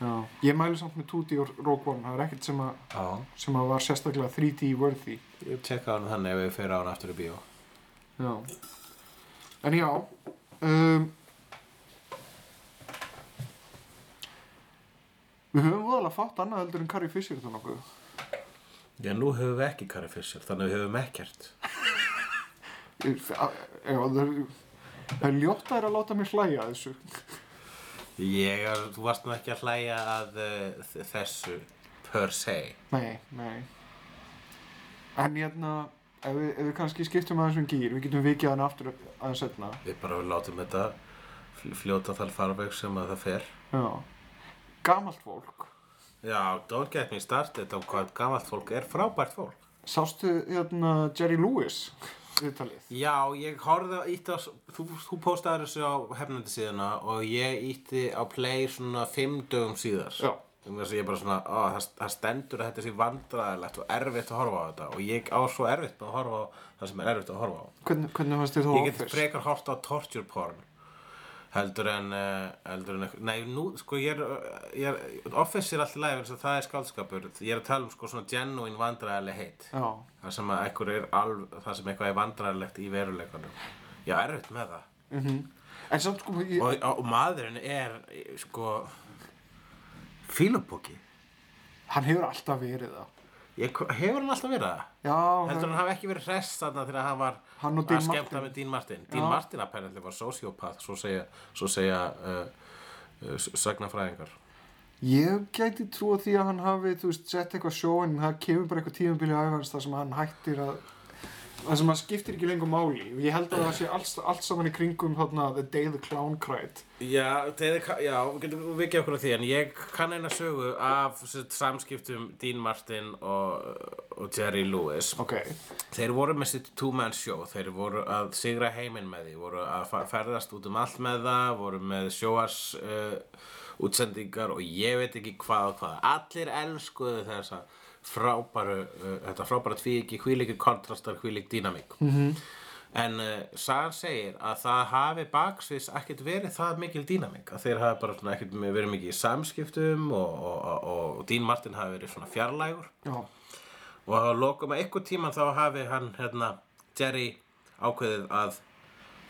C: Já, ég mæli samt með 2D og Rogue One, það er ekkert sem að,
B: Já.
C: sem að var sérstaklega 3D worthy.
B: Ég tjekka hann þannig ef við fyrir á hann aftur í bíó.
C: Já. En já, um, við höfum voðalega fátt annað heldur en Carrie Fisher þá nokkuð.
B: Já, nú höfum við ekki Carrie Fisher, þannig að við höfum ekkert.
C: Ég- a- Já, það er, það er ljótt að það er að láta mér hlæja að þessu.
B: Ég er, þú varst nú ekki að hlæja að uh, þ- þessu per se.
C: Nei, nei. En hérna, ef við, ef við kannski skiptum aðeins um gýr, við getum vikið hann aftur aðeins setna.
B: Við bara látum þetta fl- fljóta þar farveg sem að það fer.
C: Já. Gamalt fólk.
B: Já, don't get me started á hvað gamalt fólk er frábært fólk.
C: Sástu hérna Jerry Lewis viðtalið?
B: Já, ég horfði á, ítti á, þú, þú postaði þessu á hefnandi síðuna og ég ítti á play svona fimm dögum síðar.
C: Já.
B: Þannig að ég bara svona, á, það, það stendur að þetta sé vandræðilegt og erfitt að horfa á þetta og ég á svo erfitt með að horfa á það sem er erfitt að horfa á.
C: Hvernig, hvernig fannst þér þá
B: Ég get
C: Office?
B: frekar hort á torture porn heldur en, uh, heldur en eitthvað- nei, nú, sko, ég er, uh, ég er Office er alltaf læg, eins og það er skaldskapur ég er að tala um, sko, svona genuine vandræðileg heitt
C: Já,
B: það sem að ekkur er alv, það sem eitthvað er vandræðilegt í veruleikanum já, erfitt með það
C: en samt sko, ég,
B: og, og maðurinn er sko fílabóki
C: hann hefur alltaf verið það.
B: ég, hefur hann alltaf verið það?
C: Já,
B: heldur
C: hann,
B: hann hafi ekki verið hress þarna þegar hann var
C: Hann og
B: að
C: Dean
B: skemmta
C: Martin.
B: með Dean Martin Dean
C: Já.
B: Martin apparently var sociopath svo segja, svo segja uh, uh, s- sagnafræðingar
C: ég gæti trúa því að hann hafi, þú veist, sett eitthvað sjóin, en það kemur bara eitthvað tímabili æfans þar sem hann hættir að, þar sem hann skiptir ekki lengur máli. Og Ég held að það sé allt, allt saman í kringum þarna The Day the Clown Cried.
B: Já, þeir, já, við getum vikið okkur á því en ég kann eina sögu af sitt, samskiptum Dean Martin og, og Jerry Lewis
C: Ok,
B: Þeir voru með sitt two-man show, þeir voru að sigra heiminn með því, voru að fa- ferðast út um allt með það, voru með sjóars uh, útsendingar og ég veit ekki hvað og hvað. Allir elskuðu þessa frábæru, uh, þetta frábæra tvíki, hvílíkir kontrastar, hvílík dýnamík. -hmm. En uh, Sagan segir að það hafi baksviðs ekkert verið það mikil dýnamík, að þeir hafi bara svona ekkert verið mikið í samskiptum og, og, og, og, og Dean Martin hafi verið svona fjarlægur
C: já,
B: og að lokum að einhver tíma þá hafi hann hérna, Jerry ákveðið að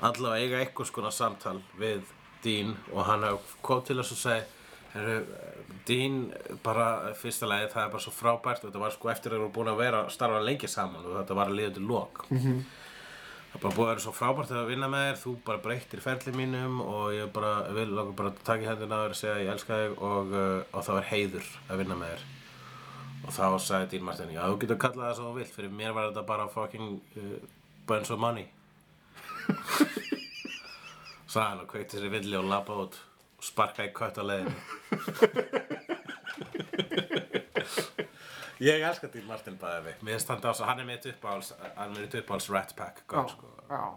B: allavega eiga einhvers konar samtal við Dean og hann hafði kom til þess og sagði Heru, Dean, bara fyrsta lagi það er bara svo frábært og þetta var sko eftir að þeir voru búin að vera starfa lengi saman og þetta var að liða til lok það er bara búið að vera svo frábært að vinna með þér þú bara breytir ferli mínum og ég bara vil lóka bara að taka í hendina á þér og segja ég elska þig og, uh, og það var heiður að vinna með þér og þá sagði Dean Martin já þú getur kallað það sem þú vilt fyrir mér var þetta bara fucking uh, bunch of money sagði hann og kveikti sér villi og lappa út sparka í kött á leiðinu ég elska því Martin Bæði mér finnst hann dása, hann er mitt uppáhals hann er mitt uppáhals Rat Pack
C: já,
B: gott, sko.
C: já.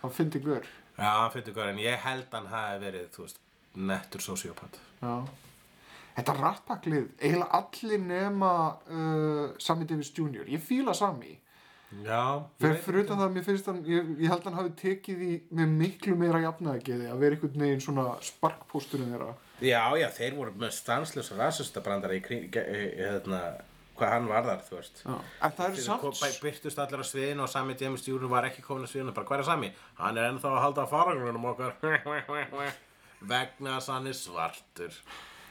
C: Það fyndi guður.
B: já, hann fyrir góður en ég held hann hafi verið þú veist, nettur sociopat
C: Já. Þetta rattpaklið, eiginlega allir nema uh, Sammy Davis Jr. Ég fíla Sammy.
B: já, ég
C: Fyrir,
B: veit
C: fyrir utan það að mér finnst hann, ég, ég held hann hafi tekið í með miklu meira jafnaðgeði að vera einhvern veginn svona sparkpósturinn þeirra.
B: Já, já, þeir voru með stanslösa rasistabrandara í kring, ge- e- e- hérna, hvað hann varðar, þú veist.
C: Já. En það eru
B: Þeir
C: samt...
B: kom- bæ- Byrtust allir á sviðinu og Sami James Júrun var ekki komin á sviðinu, bara hvað er Sami? Hann er ennþá að halda að farangrunum okkar. Vegna þess að hann er svartur.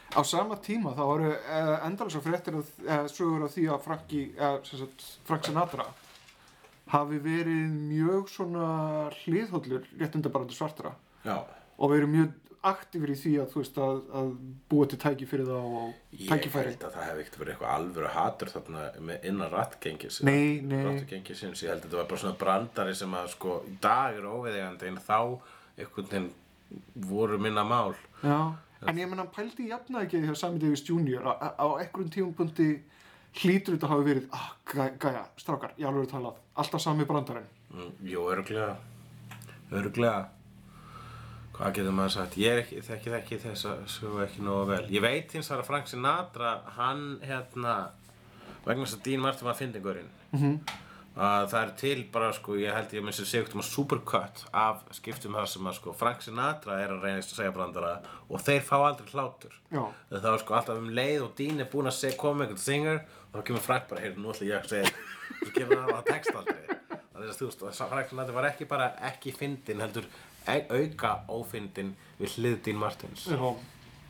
C: á sama tíma þá eru uh, endalega fréttir að uh, sögur af því að Franki, uh, sagt, Frank Sinatra hafi verið mjög svona hliðhóllur réttindabarandu svartra
B: Já.
C: og verið mjög aktífur í því að þú veist að, að búa til tæki fyrir þá og
B: Ég
C: tækifæri
B: held að það hefði ekkert verið eitthvað alvöru hatur þarna með innan rattgengis.
C: Nei, nei.
B: Rattgengis, ég held að þetta var bara svona brandari sem að sko, í dag er óviðegandi en þá einhvern veginn voru minna mál.
C: Já. en ég menn hann pældi í jafnægið hjá Sammy Davis Jr. að- að á einhverjum tímapunkti hlýtur þetta hafi verið ah, gæ- gæja, strákar, ég alveg talað alltaf sami brandarinn
B: Mm, Jú, öruglega Öruglega Hvað getur maður sagt? Ég er ekki, þekki, þekki þess að sögu ekki nógu vel Ég veit hins vegar að Frank Sinatra Hann hérna Vegna þess að Dean Martin var fyndingurinn mm að Það er til bara sko Ég held ég minnst að segja um að supercut Af skiptum það sem að sko Frank Sinatra er að reynast að segja brandara Og þeir fá aldrei hlátur
C: Já.
B: Það var sko alltaf um leið og Dean er búinn að segja koma með einhvern singer og þá kemur Frank bara, heyrðu, nú ætla ég að segja og svo kemur hann að text aldrei það er þess að þú veist, og Frank Sinatra var ekki bara ekki fyndin, heldur e- auka ófyndin við hlið Dean Martins
C: Já,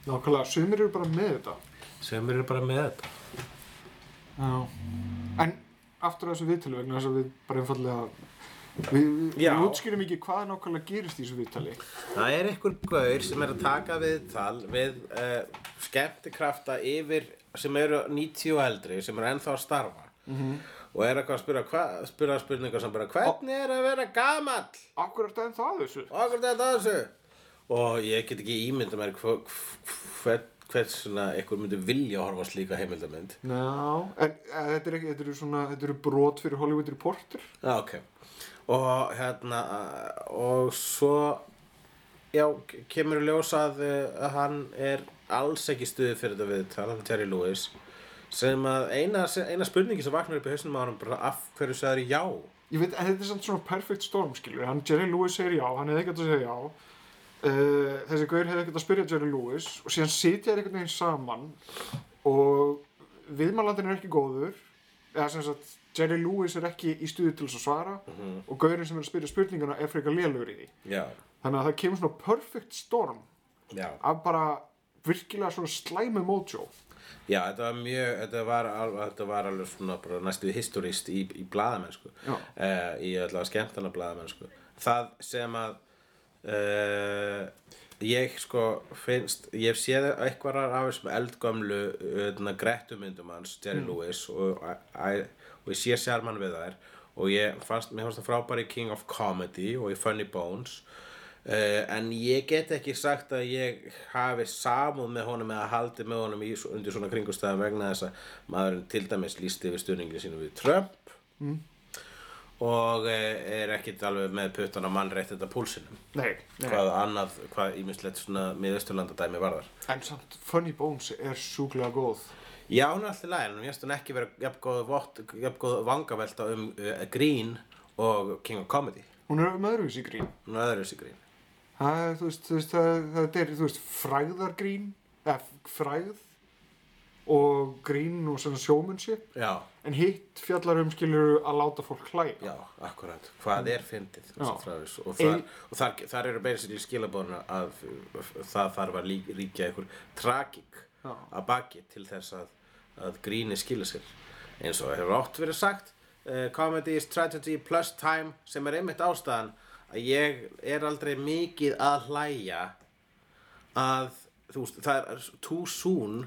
C: nákvæmlega, sumir eru bara með þetta
B: sem eru bara með þetta
C: Já. En aftur að þessu viðtali vegna þess að við bara einfallega við,
B: Já.
C: við útskýrum ekki hvað nákvæmlega gerist í þessu viðtali.
B: Það er einhver gaur sem er að taka við tal við uh, skemmtikrafta yfir sem eru 90 og eldri sem eru ennþá að starfa -hmm. og er eitthvað að spyrja, hva, spyrja spurningar sem bara hvernig er að vera gamall
C: Akkur er þetta ennþá að þessu?
B: og okkur þetta að þessu og ég get ekki ímynda mér hver, hver, hver svona einhver myndi vilja að horfa á slíka heimildamynd
C: Ná, en e, þetta er ekki, þetta eru svona, þetta eru brot fyrir Hollywood Reporter.
B: Já, ok. Og hérna, og svo, já, ke- kemur í ljós að uh, að hann er alls ekki stuðið fyrir þetta viðtal, hann Terry Lewis, sem að eina, eina spurningi sem vaknar upp í hausnum á hann bara af hverju sagði já.
C: Ég veit, en þetta er samt svona perfect storm, skilur. Hann, Jerry Lewis segir já, hann hefði ekkert að segja já. Uh, þessi gaur hefði ekkert að spyrja Jerry Lewis og síðan sitja þér einhvern veginn saman og viðmælandin er ekki góður eða sem sagt Jerry Lewis er ekki í stuði til þess að svara og gaurinn sem er að spyrja spurninguna er frekar lélugur í því
B: Já.
C: Þannig að það kemur svona perfect storm
B: Já.
C: af bara virkilega svona slæmu mojo.
B: Já, þetta var mjög, þetta var alveg, þetta var alveg svona bara næstuði historist í, í blaðamennsku,
C: Já.
B: uh, í allavega skemmtana blaðamennsku. Það sem að uh, ég sko finnst, ég hef séð eitthvað af þessum eldgömlu uh, grettumyndum hans, Jerry Lewis og, að, og ég sé sérmann við þær og ég fannst, mér fannst það frábæri King of Comedy og í Funny Bones Uh, en ég get ekki sagt að ég hafi samúð með honum eða haldið með honum í, undir svona kringustæðum vegna þess að maðurinn til dæmis lísti yfir stuðningin sínum við Trump og uh, er ekkit alveg með puttan á mannrétt þetta púlsinum
C: Nei, nei.
B: hvað annað, hvað ímislegt svona miðausturlandadæmi varðar
C: En samt Funny Bones er sjúklega góð.
B: Já, hún er alltaf lægin, en ég finnst hún ekki vera jafngóð, vott, jafngóð vangavelta um uh, Green og King of Comedy
C: Hún er með öðruvísi grín.
B: hún er öðruvísi Green
C: Það er, þú veist, þú veist, það, það er, þú veist, fræðargrín, eða fræð og grín og svona sjómunnship.
B: Já,
C: En hitt fjallar um skilur að láta fólk hlæja.
B: Já, akkurat. Hvað er fyndið?
C: Já.
B: Og, og, þar,
C: Ein-
B: og þar, þar eru basically skilabóðuna að f- f- það þarf að lí, ríkja einhver tragik
C: Já.
B: að baki til þess að, að gríni skila sér. Eins og hefur oft verið sagt, uh, comedy is tragedy plus time sem er einmitt ástæðan að ég er aldrei mikið að hlæja að þú veist, það er too soon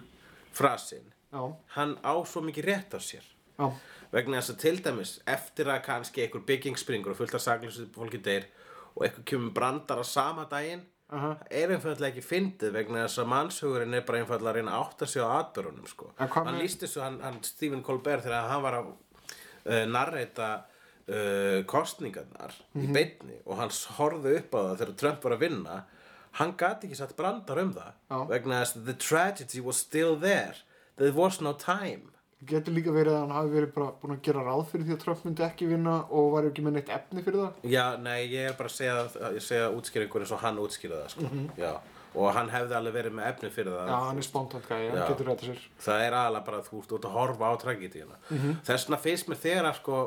B: frasinn.
C: Já,
B: Hann á svo mikið rétt á sér
C: já,
B: vegna þess að til dæmis eftir að kannski einhver bygging springur og fullt af sakleysu fólki deyr og einhver kemur brandar á sama daginn
C: Aha.
B: er einfallega ekki fyndið vegna þess að mannshugurinn er bara einfallega að reyna að átta sig á atbyrunum sko.
C: En hvað
B: hann
C: með-
B: lísti svo hann, hann Stephen Colbert þegar hann var að uh, narreita uh, kostningarnar
C: Mhm.
B: í beinni og hann horfði upp á það þegar Trump var að vinna hann gat ekki satt brandar um það
C: Já.
B: vegna þess að the tragedy was still there there was no time
C: Getur líka verið að hann hafi verið bara búin að gera ráð fyrir því að Trump myndi ekki vinna og var ekki með neitt efni fyrir það.
B: Já, nei, ég er bara að segja, að segja útskýringur eins og hann útskýrði það, sko. Já, og hann hefði alveg verið með efni fyrir það.
C: Mhm. Já, hann er spontant
B: Já.
C: gæði, hann getur rétt sér.
B: Það er aðalega bara að þú ert út að horfa á tragedíuna.
C: Mhm.
B: Þess vegna finnst mér þegar að, sko,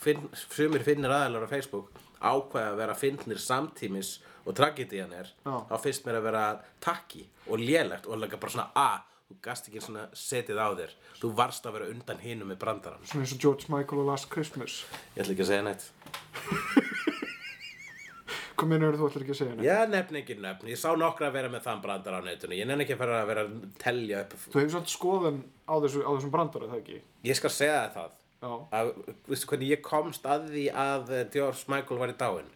B: finn, sumir finnir aðalega á Facebook ákvæða að vera finnir samtímis og tragedían er,
C: Já.
B: þá finnst mér að vera takki og lélegt og lega bara svona að, þú gast ekki svona setið á þér. Þú varst að vera undan hinum með brandarann.
C: Svona eins og George Michael og Last Christmas.
B: Ég ætla ekki að segja nætt.
C: Hvað meina eru þú ætlar ekki að segja henni?
B: Já, nefn ekki nefn. Ég sá nokkra að vera með þann brandar á netinu. Ég nenni ekki að fara að vera að telja upp.
C: Þú hefur svolítið skoðan á, þessu, á þessum brandara, það ekki?
B: Ég skal segja þér það.
C: Já.
B: Að, veistu hvernig ég komst að því að eh, George Michael var í dáin?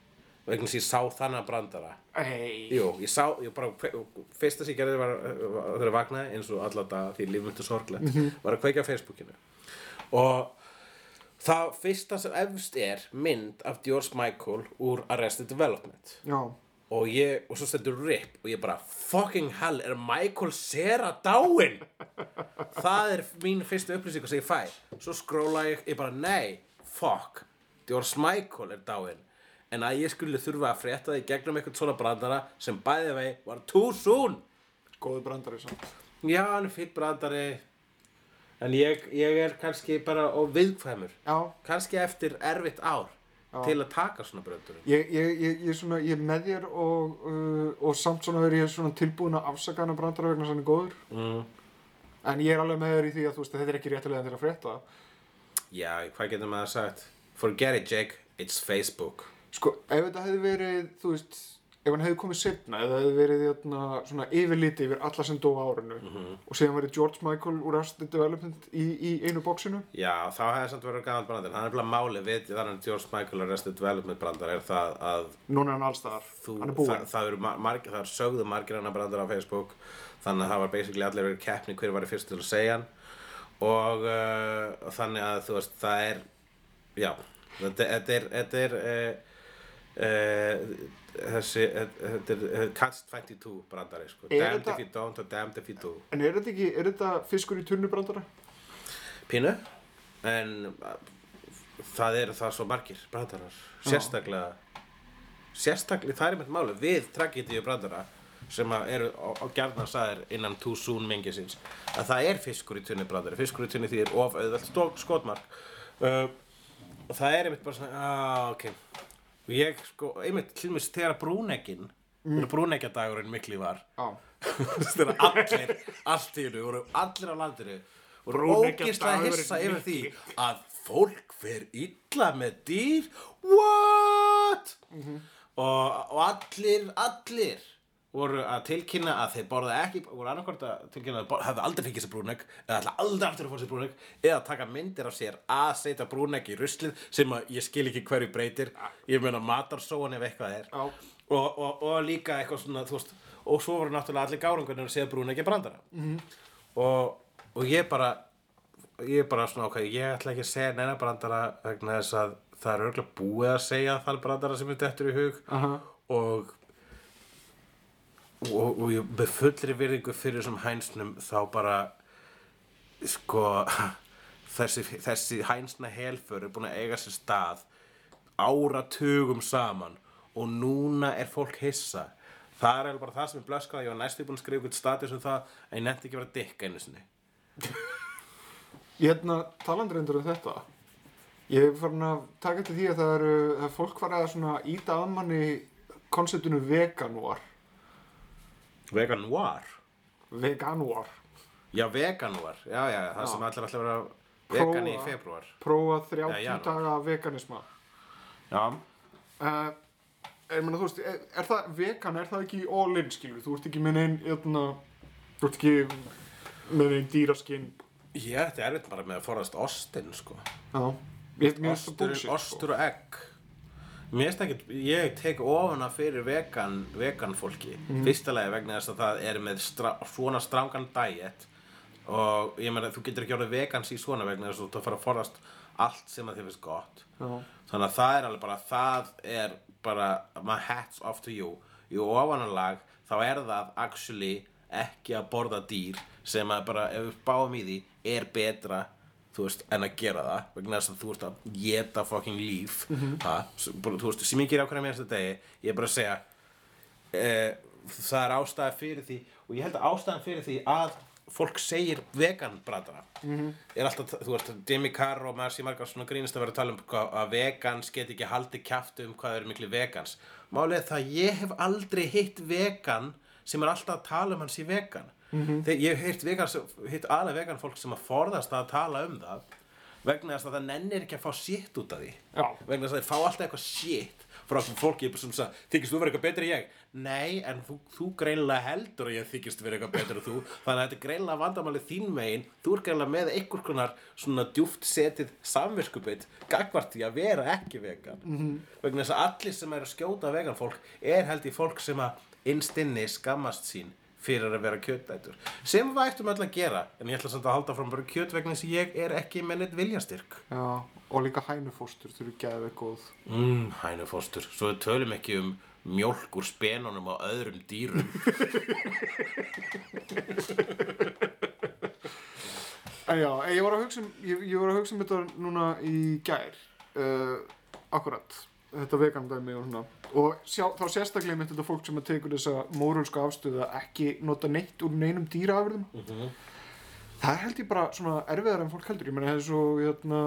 B: Vegna þess að ég sá þannan brandara.
C: Ei.
B: Jú, ég sá, ég bara, fyrsta sem ég gerði var, var þegar ég vaknaði, eins og alla daga því lífmyndu sorglegt, var að kveika á Facebookinu. Og það fyrsta sem efst er mynd af George Michael úr Arrested Development.
C: Já.
B: og ég, og svo stendur rip og ég bara, fucking hell, er Michael Cera dáinn? það er mín fyrsta upplýsing sem ég fæ, svo skróla ég, ég bara, nei, fuck George Michael er dáinn en að ég skulle þurfa að frétta það í gegnum eitthvað svona brandara sem bæði vei var too soon
C: Góði brandari samt.
B: já, hann er fýtt brandari en ég, ég er kannski bara og viðkvæmur,
C: Já.
B: kannski eftir erfitt ár til að taka svona brandarum
C: Ég, ég, ég, ég, svona, ég er með þér og, uh, og samt svona er ég svona tilbúin að afsaka hann að brandara vegna þess að hann er góður. Mm. En ég er alveg með þér í því að þú veist að þetta er ekki réttilega til að frétta.
B: Já, hvað getur maður sagt? Forget it, Jake. It's Facebook.
C: Sko, ef þetta hefði verið, þú veist, ef hann hefði komið setna, ef það hefði verið jötna, svona yfirliti yfir alla sem dó á árinu
B: Mhm.
C: og síðan verið George Michael úr Arrested Development í, í einu bóksinu,
B: Já, þá hefði samt verið gaman brandar. Það er nefnilega máli við þannig að George Michael og Rested Development brandar er það að
C: núna er hann allstaðar,
B: þú,
C: hann er búinn.
B: það, það eru mar- margir, það eru sögðu margir hana brandar á Facebook þannig að það var basically allir verið keppni hver var í fyrst til að segja hann og uh, þannig að þú veist, það er já, þetta, þetta er þetta er uh, uh, þessi, þetta er- þetta er Catch 22 brandari, sko
C: Er
B: Damned if
C: þetta-
B: you don't og damned if you do
C: En er þetta ekki, er þetta fiskur í tunnubrandara?
B: pínu en uh, það eru það svo margir brandarar sérstaklega sérstaklega, það er með máli við tragedíu brandara sem að eru á, á gjarnarsæðir innan too soon mingi síns að það er fiskur í tunni brandari fiskur í tunni því er of auðvelt stók skotmark uh, og það er einmitt bara svona ah, ok og ég sko, einmitt, hlýmis þegar brúnegin þegar brúnegjadagurinn mikli var
C: Já.
B: þegar allir, allt í hennu voru allir á landinu voru
C: Brúneggja
B: ógislega
C: dagurinn
B: hissa yfir því
C: mikli.
B: að fólk fer illa með dýr what og, og allir, allir voru að tilkynna að þeir borða ekki voru annarkvort að tilkynna að þeir hefði aldrei fengið sér brúnegg eða ætla aldrei aftur að fá sér brúnegg eða taka myndir af sér að setja brúnegg í ruslið sem að ég skil ekki hverju breytir ég meina matarsóan ef eitthvað er
C: Já.
B: og, og, og líka eitthvað svona þú veist, og svo voru náttúrulega allir gárangunir að segja brúneggi brandara -hmm. og, og ég bara ég er bara svona ok, ég ætla ekki að segja neina brandara vegna þess að það er örgulega búið að segja þann brandara sem er dettur í hug
C: Aha.
B: og og, og ég, með fullri virðingu fyrir þessum hænsnum þá bara sko þessi, þessi hænsna helför er búin að eiga sér stað áratugum saman og núna er fólk hissa það er alveg bara það sem ég blöskaði ég var næstu búin að skrifa ykkur status um það en ég nefndi ekki að vera dikk einu sinni
C: Ég hérna talandi reyndur um þetta. Ég er farin að taka til því að það eru, að fólk var að svona íta að manni konceptinu veganúar.
B: vegan var
C: Veganúar.
B: já vegan var, já já það
C: Já.
B: sem allir ætla að vera vegan í
C: Prófa.
B: februar
C: Prófa 30
B: Nei, janúar.
C: daga veganisma.
B: já
C: Uh, ég meina, þú veist, er, er það vegan, er það ekki í all in, skilur? Þú ert ekki með neinn, jötna, þú ert ekki með neinn dýraskinn.
B: ég ætti erfitt bara með að forðast ostin sko
C: Já. Ég held mér svo sko.
B: ostur,
C: búlsitt,
B: ostur og egg Mér finnst ekkert, ég tek ofuna fyrir vegan, vegan fólki Fyrsta lagi vegna þess að það er með stra, svona strangan diet Og ég meina, þú getur ekki orðið vegans í svona vegna þess að þú ert að fara að forðast allt sem að þið finnst gott
C: Já.
B: Þannig að það er alveg bara, það er bara, my hats off to you Í ofanálag, þá er það actually ekki að borða dýr Sem að bara, ef við báum í því, er betra þú veist, en að gera það vegna þess að þú ert að geta fucking líf mm bara, þú veist, sem ég ger á hverja mér þetta degi ég er bara að segja e, það er ástæða fyrir því og ég held að ástæðan fyrir því að fólk segir vegan bratara -hmm. er alltaf, þú veist, Jimmy Carr og Marcy Margar svona grínist að vera að tala um hvað, að vegans get ekki haldið kjaftu um hvað eru miklu vegans málið er það að ég hef aldrei hitt vegan sem er alltaf að tala um hans í vegan þegar ég hef hitt, vegan, hitt aðlega vegan fólk sem að forðast að tala um það vegna þess að það nennir ekki að fá sitt út af því
C: Já.
B: vegna þess að þeir fá alltaf eitthvað shit frá okkur fólki sem sagði, þykist þú verið eitthvað betri en ég? Nei, en þú, þú greinlega heldur að ég þykist verið eitthvað betri en þú þannig að þetta er greinlega vandamálið þín megin þú er greinlega með einhver konar svona djúft setið samvirkubitt gagvart því að vera ekki vegan -hmm. vegna þess að allir sem er að skjóta vegan fólk er held í fólk sem að innstinni skammast sín fyrir að vera kjötætur sem við ættum öll að gera en ég ætla samt að halda fram bara kjöt vegna þess að ég er ekki með neitt viljastyrk
C: Já, og líka hænufóstur þau eru geðveik góð.
B: Mm, hænufóstur, svo við tölum ekki um mjólk úr spenunum á öðrum dýrum
C: En já, en ég var að hugsa um, ég, ég var að hugsa um þetta núna í gær, uh, akkurat, þetta vegandæmi og svona. Og sjá, þá sérstaklega mitt þetta fólk sem að tekur þessa mórölsku afstöðu að ekki nota neitt úr neinum dýraafurðum. Það er held ég bara svona erfiðar en fólk heldur, ég meina það er svo, hérna,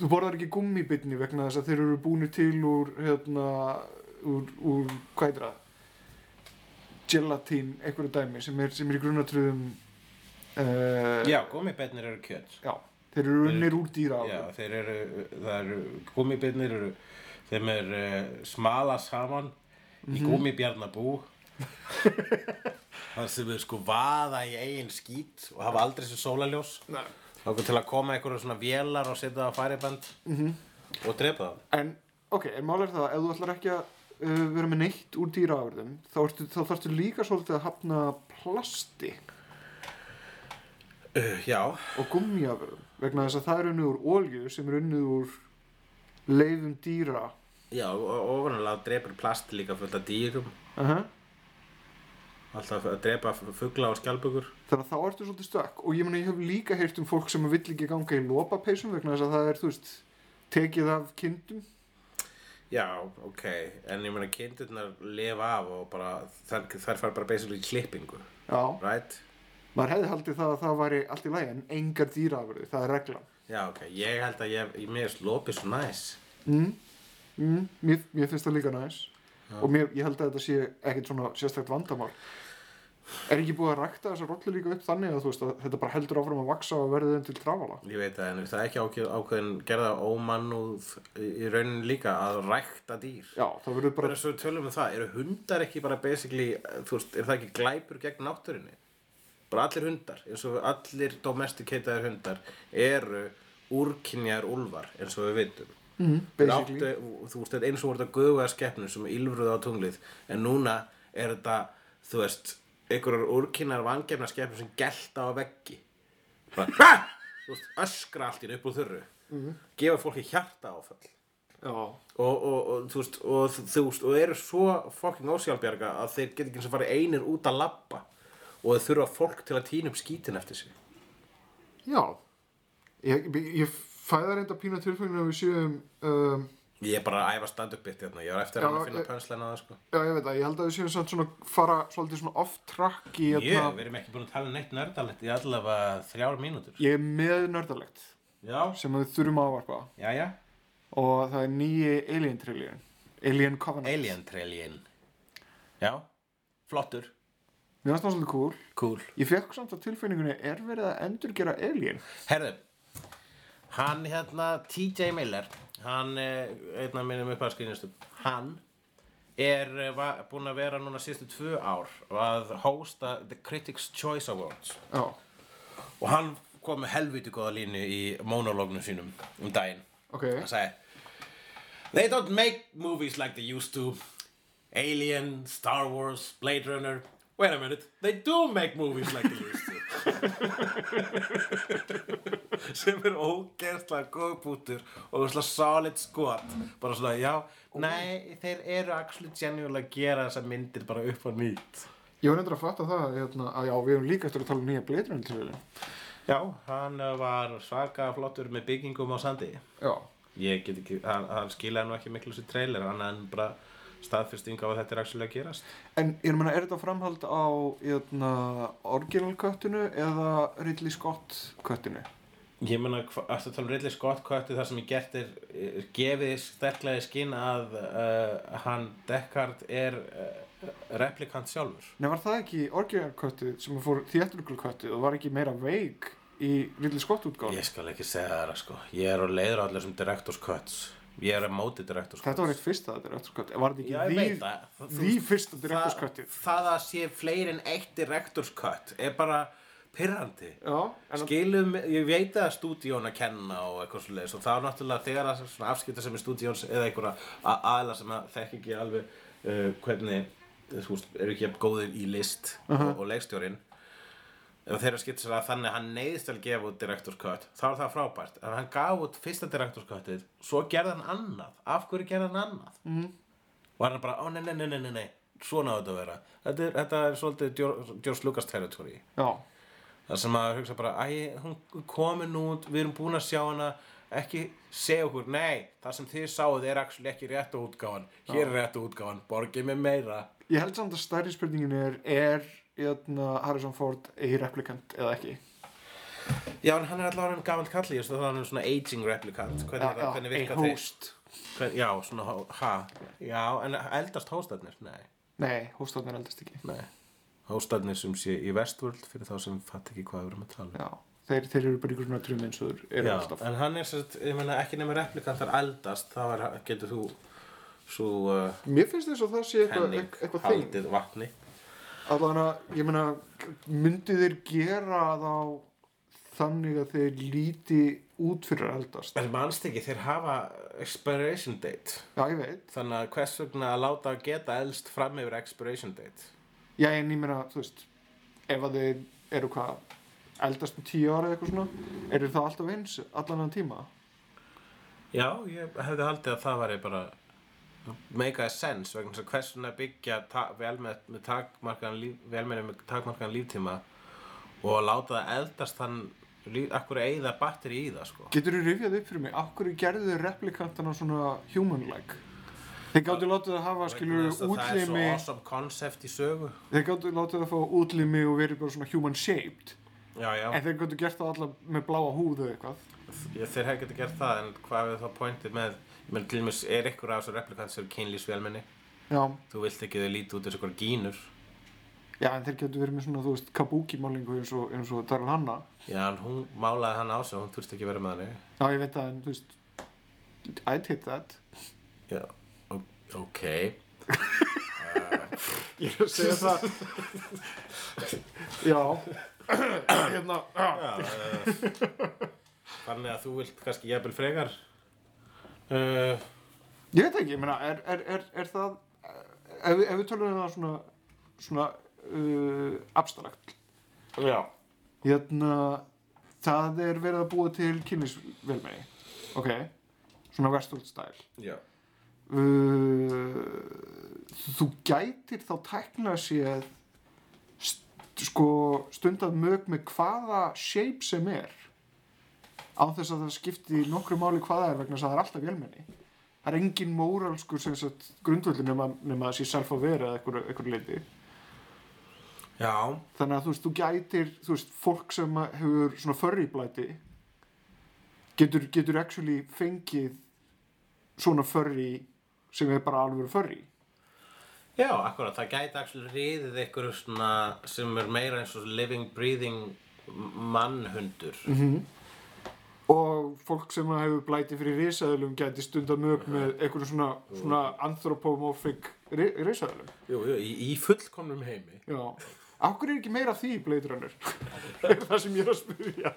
C: þú borðar ekki gummibitni vegna þess að þeir eru búinir til úr, hérna, úr, úr hvað er það? Gelatín, einhverju dæmi sem er, sem er í grunatröðum... Uh,
B: Já, gummibetnir eru kjöt
C: Já, þeir eru unnir úr dýra
B: Já, þeir eru, það eru, gummibetnir eru þeim er uh, smala saman í gummibjarnabú þar sem við sko vaða í eigin skít og hafa aldrei sem sólaljós þá til að koma einhverjum svona vélar og setja það á færiband -hmm. og drepa það
C: En, ok, en mál er það ef þú ætlar ekki að uh, vera með neitt úr dýraafurðum þá, ertu, þá þarftu líka svolítið að hafna plasti
B: uh, Já,
C: og gummiafurðum vegna þess að það er unnið úr olju sem er unnið úr leifum dýra
B: já, og ofanulega drepur plast líka fullt af dýrum
C: uh -huh.
B: Alltaf að drepa fugla og skjálpugur
C: þannig að þá ertu svolítið stökk og ég meina ég hef líka heyrt um fólk sem vill ekki ganga í lopapeysum vegna þess að það er, þú veist tekið af kindum
B: Já, ok, en ég meina kindurnar lifa af og bara þær, þær fara bara basically í klippingu
C: Já,
B: Right?
C: maður hefði haldið það að það væri allt í lagi en engar dýraafurði, það er reglan
B: Já, ok, ég held að ég, ég mér er slopið svo næs
C: mm. Mm. Mér, mér finnst það líka næs og mér, ég held að þetta sé ekkit svona sérstakt vandamál er ekki búið að rækta þessa rollu líka upp þannig að, þú veist, að þetta bara heldur áfram að vaksa og verði þeim til trafala
B: Ég veit að en það er ekki ákveð, ákveðin gerða ómannúð í í raunin líka að rækta dýr
C: já, það verður
B: Bara
C: bara
B: svo við tölum við það, eru hundar ekki bara basically, eh, þú veist, er það ekki glæpur gegn náttúrinni? Bara allir hundar, eins og allir domesticataðir hundar eru úrkynjar úlfar, eins og við vitum. Mm,
C: basically.
B: þú veist, þetta er eins og voru þetta guðuga skeppnum sem ylfruðu á tunglið, en núna er þetta, þú veist, einhverjar úrkynjar vangefna skeppnum sem gelta á veggi. Bara, "Ha!" þú veist, öskra allt í einu upp úr þurru, gefa fólki hjarta áfall
C: já,
B: og, og, og þú veist og þú- þú veist og eru svo fucking ósjálfbjarga að þeir get ekki eins og farið einir út að labba og þeir þurfa fólk til að týna upp skítin eftir sig
C: já. ég, ég fæða reynda pína tilfenginu að við séum um,
B: ég er bara að æfa stand-up bit hérna ég var eftir
C: Já,
B: að reyna að finna
C: ég-
B: pönsleina það sko
C: já, ég veit að, ég held að við séum samt svona fara svolítið svona off track í
B: ég,
C: hérna,
B: við erum ekki búin að tala um neitt nördalegt í allavega þrjár mínútur
C: ég er með nördalegt
B: já,
C: sem við þurfum að varpa
B: já, já
C: og það er nýji Alien Trillion Alien Covenant
B: Alien Trillion já, flottur
C: mér finnst það svolítið cool
B: cool
C: Ég fekk samt á tilfinningunni, er verið að endurgera Alien?
B: Herðu, hann hérna, TJ Miller, hann, eh, einn af minnum upp að skrýnistum, hann er eh, va- búinn að vera núna síðustu tvö ár að hosta The Critics' Choice Awards
C: Já.
B: og hann kom með helviti góða línu í monológnum sínum um daginn.
C: Ok.
B: Hann sagði, They don't make movies like they used to. Alien, Star Wars, Blade Runner. Wait a minute, they do make movies like they used to. sem er ógeðslega góð bútur og svona solid skot. Bara svona, já, nei, þeir eru actually genuinely að gera þessa myndir bara upp á nýtt.
C: Ég var endur að fatta það hérna, að já, við erum líka eftir að tala um nýja bleitrunum til þeirra.
B: Já, hann uh, var svaka flottur með byggingum á sandi.
C: Já.
B: Ég get ekki, hann, hann skilaði nú ekki miklu sér trailer, hann en bara staðfyrsting á að þetta er actually að gerast.
C: En ég meina, er þetta framhald á hérna, original köttinu eða Ridley Scott köttinu?
B: Ég meina, aftur að tala um Ridley Scott kvötti það sem ég gert er, er gefið sterklega í skinn að uh, hann Deckard er uh, replikant sjálfur.
C: Nei, var það ekki original köttið sem fór þéttruglu köttið og var ekki meira veik í Ridley Scott útgáð?
B: Ég skal ekki segja það sko. Ég er á leiður á allir sem director's cuts. Ég er á móti director's cuts.
C: Þetta var eitt fyrsta director's cut, var þetta ekki
B: Já, ég
C: því,
B: veit það. Þú-
C: því
B: þú-
C: fyrsta director's
B: Það-
C: cutið?
B: Það að sé fleiri en eitt director's cut er bara pirrandi.
C: Já, en
B: Skilum, ég veit að stúdíón að kenna og eitthvað svo leiðis og þá náttúrulega þegar að svona afskipta sem er stúdíóns eða einhverja a- aðila sem að þekk ekki alveg uh, hvernig, þú veist, eru ekki jafn góðir í list og, og leikstjórinn ef þeirra skipta sér að þannig að hann neyðist að gefa út director's cut þá er það frábært, en hann gaf út fyrsta director's cutið, svo gerði hann annað af hverju gerði hann annað? Mm. Var hann bara, ó nei, nei, nei, nei, nei, nei svona á þetta að vera, þetta er, þetta er svolítið George- George Lucas territory
C: já,
B: Það sem maður hugsa bara, æ, hún komin út, við erum búin að sjá hana, ekki segja okkur, nei, það sem þið sáuð er actually ekki réttu útgáfan, hér er réttu útgáfan, borgið mér meira.
C: ég held samt að stærri spurningin er, er hérna, Harrison Ford a replicant eða ekki?
B: Já, en hann er allavega hann gamall kalli, ég veist að hann er svona aging replicant, hvernig,
C: Já, já,
B: hvernig
C: a
B: virka þeir?
C: host.
B: Hvern, já, svona, hó- ha, já, en eldast hóstarnir, nei,
C: Nei, hóstarnir eldast ekki.
B: nei. Hóstarnir sem sé í Westworld fyrir þá sem fatt ekki hvað við erum að tala um.
C: Já, þeir, þeir eru bara ykkur svona trum eins og þeir eru
B: Já,
C: alltaf.
B: en hann er sérst, ég meina ekki nema replikantar eldast, þá er, getur þú svo uh,
C: Mér finnst þess að það sé eitthvað,
B: penning
C: eitthvað, eitthvað þing.
B: haldið vatni.
C: Allan að, ég meina, myndu þeir gera þá þannig að þeir líti út fyrir að eldast?
B: En manst ekki, þeir hafa expiration date.
C: Já, ég veit.
B: Þannig að hvers vegna að láta að geta elst fram yfir expiration date?
C: Já, en ég meina, þú veist, ef að þeir eru hvað, eldast um tíu ára eða eitthvað svona, eru það alltaf eins allan að tíma?
B: Já, ég hefði haldið að það væri bara make a sense vegna þess að hvers vegna byggja ta- vel með, með takmarkan líf, velmenni með takmarkan líftíma og láta það eldast þann líf, akkur eigða batteri í það sko.
C: Getur þú rifjað upp fyrir mig, af hverju gerðu þau replikantana svona human-like? Þeir gáttu látið að hafa, skilur,
B: Vegna þess að Það er svo
C: útlimi,
B: awesome concept í sögu.
C: þeir gáttu látið að fá útlimi og verið bara svona human-shaped.
B: Já, já.
C: En þeir gáttu gert það allar með bláa húðu eða eitthvað.
B: Ég, þeir hefði getið gert það, en hvað er þá pointið með, ég menn til dæmis, er ykkur af þessu replikant sem er kynlýsvélmenni?
C: Já,
B: Þú vilt ekki að þau líti út þessu ykkur gínur.
C: Já, en þeir getur verið með svona, þú veist, kabuki-málingu eins og, eins og Daryl Hanna.
B: Já, en hún málaði hann á sig, hún þurfti ekki að vera með hann,
C: Já, ég veit það, en þú veist, I'd hit that.
B: Já, o- ok.
C: Ég er að segja það. Já, hérna, já.
B: Já, uh, þannig að þú vilt kannski jafnvel frekar. Uh,
C: Ég veit það ekki, ég meina, er, er, er, er það, ef, við- ef við tölum um það svona, svona uh, abstrakt,
B: já.
C: hérna, það er verið að búa til kynlísvelmeni, ok, svona Westworld style.
B: Já.
C: uh, þú gætir þá tækna sér st sko stundað mög með hvaða shape sem er á þess að það skipti nokkru máli hvaða er vegna þess að það er alltaf vélmenni það er engin móralskur sem sagt grundvöldin nema, nema þessi self að vera eða einhver, einhver leiti
B: Já,
C: þannig að þú veist, þú gætir þú veist, fólk sem að hefur svona förriblæti getur, getur actually fengið svona förri sem er bara alveg förri
B: já, akkurat, það gæti actually riðið ykkur svona sem er meira eins og living, breathing mannhundur.
C: og fólk sem að hefur blæti fyrir risaðilum gæti stundar mög með einhverjum svona, svona anthropomorphic ri risaðilum
B: Jú, jú, í, í fullkomnum heimi.
C: já Akkur er ekki meira af því í Blade Runner? er það sem ég er að spyrja.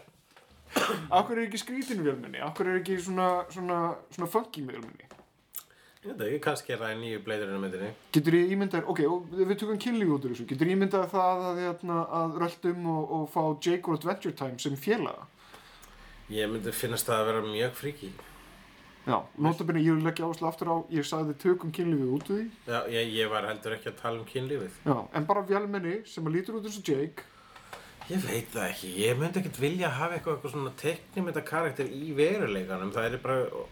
C: Akkur er ekki skrítin vélmenni? Akkur er ekki svona, svona, svona funky vélmenni?
B: Ég veit ekki, kannski er það í nýju bleiðurinu myndinni.
C: Getur ég ímyndað, ok, og við tökum kynlíf út úr þessu, getur ég ímyndað það að, hérna, að röldum og, og fá Jake úr Adventure Time sem félaga?
B: Ég myndi finnast það að vera mjög fríki.
C: Já, notabene ég vil leggja áherslu aftur á, ég sagði tökum kynlífið út úr því,
B: Já, ég, ég var heldur ekki að tala um kynlífið.
C: já, en bara vélmenni sem að lítur út eins og Jake,
B: Ég veit það ekki, ég myndi ekkert vilja hafa eitthvað, eitthvað svona teknimynda karakter í veruleikanum, það er bara,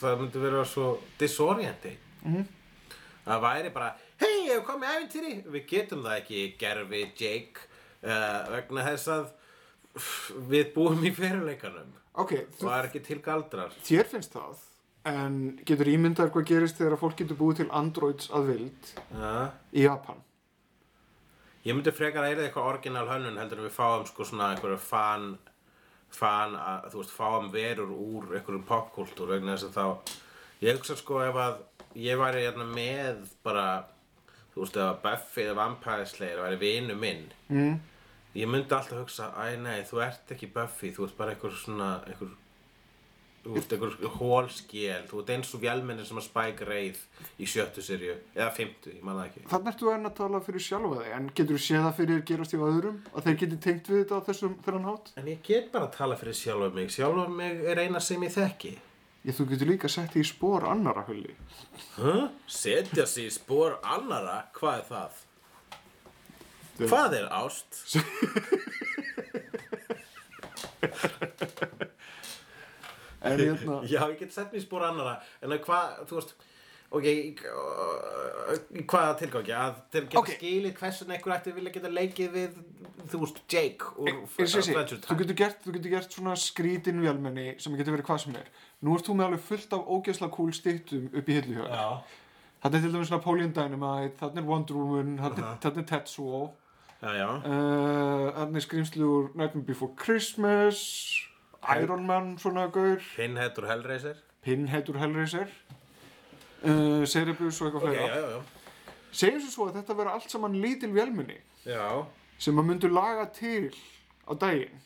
B: það myndi vera svo disorienti. Það væri bara, hei, ég hef komið æfintýri, við getum það ekki, gerfi, Jake, uh, vegna þess að pff, við búum í veruleikanum
C: ok,
B: og
C: þú,
B: það er ekki til galdrar.
C: þér finnst það, en getur ég ímyndað hvað gerist þegar að fólk getur búið til androids að vild
B: Uh,
C: í Japan?
B: ég myndi frekar að eyrið eitthvað orginal hönnun heldur en við fáum sko svona einhverju fan, fan að, þú veist, fáum verur úr einhverjum popkultúr vegna þess að þá, ég hugsa sko ef að ég væri hérna með bara, þú veist, ef að Buffy eða Vampire Slayer væri vinu minn, mm. ég myndi alltaf hugsa, æ nei, þú ert ekki Buffy, þú ert bara einhver svona, einhver, þú ert einhver hólskél, þú ert eins og vélmennir sem að Spike reið í sjöttu sirju, eða fymtu, ég man það ekki.
C: Þannig ertu enn að tala fyrir sjálfa þig, en getur þú séð það fyrir gerast í öðrum, að þeir geti tengt við þetta á þessum þennan hátt?
B: En ég get bara að tala fyrir sjálfur mig. Sjálfur mig er eina sem ég þekki.
C: Ég þú getur líka sett þig í spór annara hulli.
B: Huh? Setja sig í spór annara? Hvað er það?
C: Þau-
B: Hvað er ást?
C: En hérna,
B: Já, ég get sett mig í spór annara. En að hvað, þú veist, ok, í- í hvaða tilgangi? Að þeir geta
C: Ok.
B: skilið hversun einhver ætti vilja geta leikið við, þú veist, Jake úr
C: eins og ég segi,
B: Adventure
C: þú
B: Time.
C: getur gert, þú getur gert svona skrítin vélmenni sem getur verið hvað sem er. Nú ert þú með alveg fullt af ógeðsla kúl stittum upp í hillu hjá. þér.
B: Já,
C: Þarna er til dæmis Napoleon Dynamite, þarna er Wonder Woman, þarna er- þarna er Tetsuo,
B: já, já.
C: uh, þarna er skrýmslu úr Nightmare Before Christmas, Iron Man svona gaur,
B: Pinhead úr Hellraiser.
C: Pinhead úr Hellraiser, uh, Cerebus og eitthvað
B: Ok,
C: fleira.
B: já, já, já.
C: Segjum svo svo að þetta vera allt saman lítil vélmenni.
B: Já,
C: sem að myndu laga til á daginn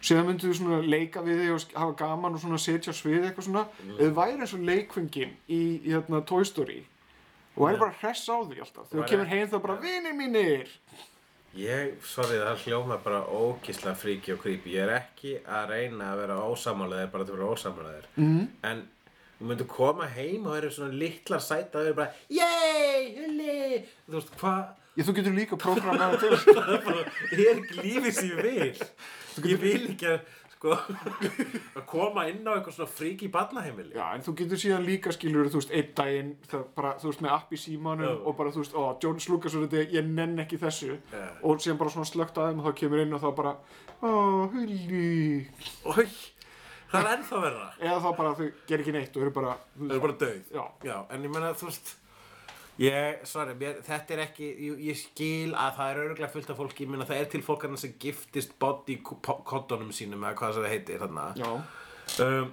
C: síðan myndu þú svona leika við þig og sk- hafa gaman og svona setja á svið eitthvað svona
B: Mm.
C: eða væri eins og leikfengin í, í hérna Toy Story og væri bara hress á því alltaf þegar
B: Væri-
C: þú kemur heim þá bara vinir mínir
B: Ég, sorry, það hljóma bara ógisla fríki og creepy. Ég er ekki að reyna að vera ósamálaðir, bara til að vera ósamálaðir. Mm. En þú myndir koma heim og eru svona litlar sæta og eru bara, yey, hulli, þú veist, hvað?
C: ég, þú getur líka prógramað til
B: Það er bara, ég er ekki lífið sem ég vil. Ég vil ekki að, sko, að koma inn á eitthvað svona fríki barnaheimili.
C: já en þú getur síðan líka skilur þú veist einn daginn það bara þú veist með app í símanum
B: Já.
C: og bara þú veist ó Jonas Lucas og þetta ég nenn ekki þessu
B: Já.
C: og síðan bara svona slögt aðeim og þá kemur inn og þá bara ó hulli
B: Oj, það er ennþá verra.
C: eða þá bara þau gerir ekki neitt og eru bara þú
B: Það er bara döið.
C: Já.
B: en ég meina, þú veist, ég, sorry, mér, þetta er ekki, ég, ég skil að það er örgulega fullt af fólki, ég meina, það er til fólkarna sem giftist body kottunum sínum eða hvað sem það heitir þarna.
C: Já,
B: Um,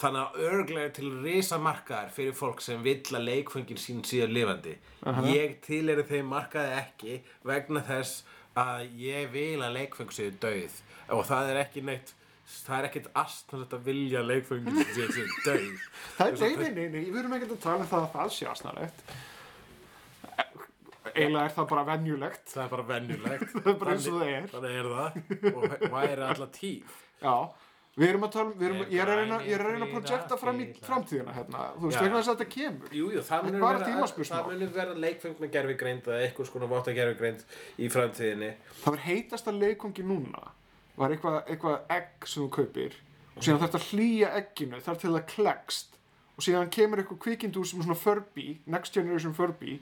B: þannig að örgulega er til risamarkaðar fyrir fólk sem vill að leikföngin sín síðan lifandi. Ég til eru þeim markaði ekki vegna þess að ég vil að leikföng séu döið og það er ekki neitt, það er ekkit astnalegt að vilja að leikföngin séu döið.
C: það er, nei, nei, nei, nei, við erum ekkert að tala um það að það sé asnalegt. E, Eiginlega er það bara venjulegt.
B: Það er bara venjulegt.
C: Það er bara eins og það er.
B: Þannig er það. Og væri alltaf tíð.
C: Já, við erum að tala, um- við erum, ég er að reyna, ég er að reyna að projekta fram í framtíðina hérna, þú veist,
B: Já.
C: vegna þess að þetta kemur.
B: Jú, jú, það
C: Þetta er
B: munur
C: bara
B: vera,
C: tímaspursmál.
B: það munur vera leikfeng með gerfigreind eða eitthvað skona votta gerfigreind í framtíðinni.
C: Það var heitasta leikongi núna, var eitthvað, eitthvað egg sem þú kaupir og síðan þarf að hlýja egginu, þar til það klekst og síðan kemur eitthvað kvikindúr sem er svona Furby, Next Generation Furby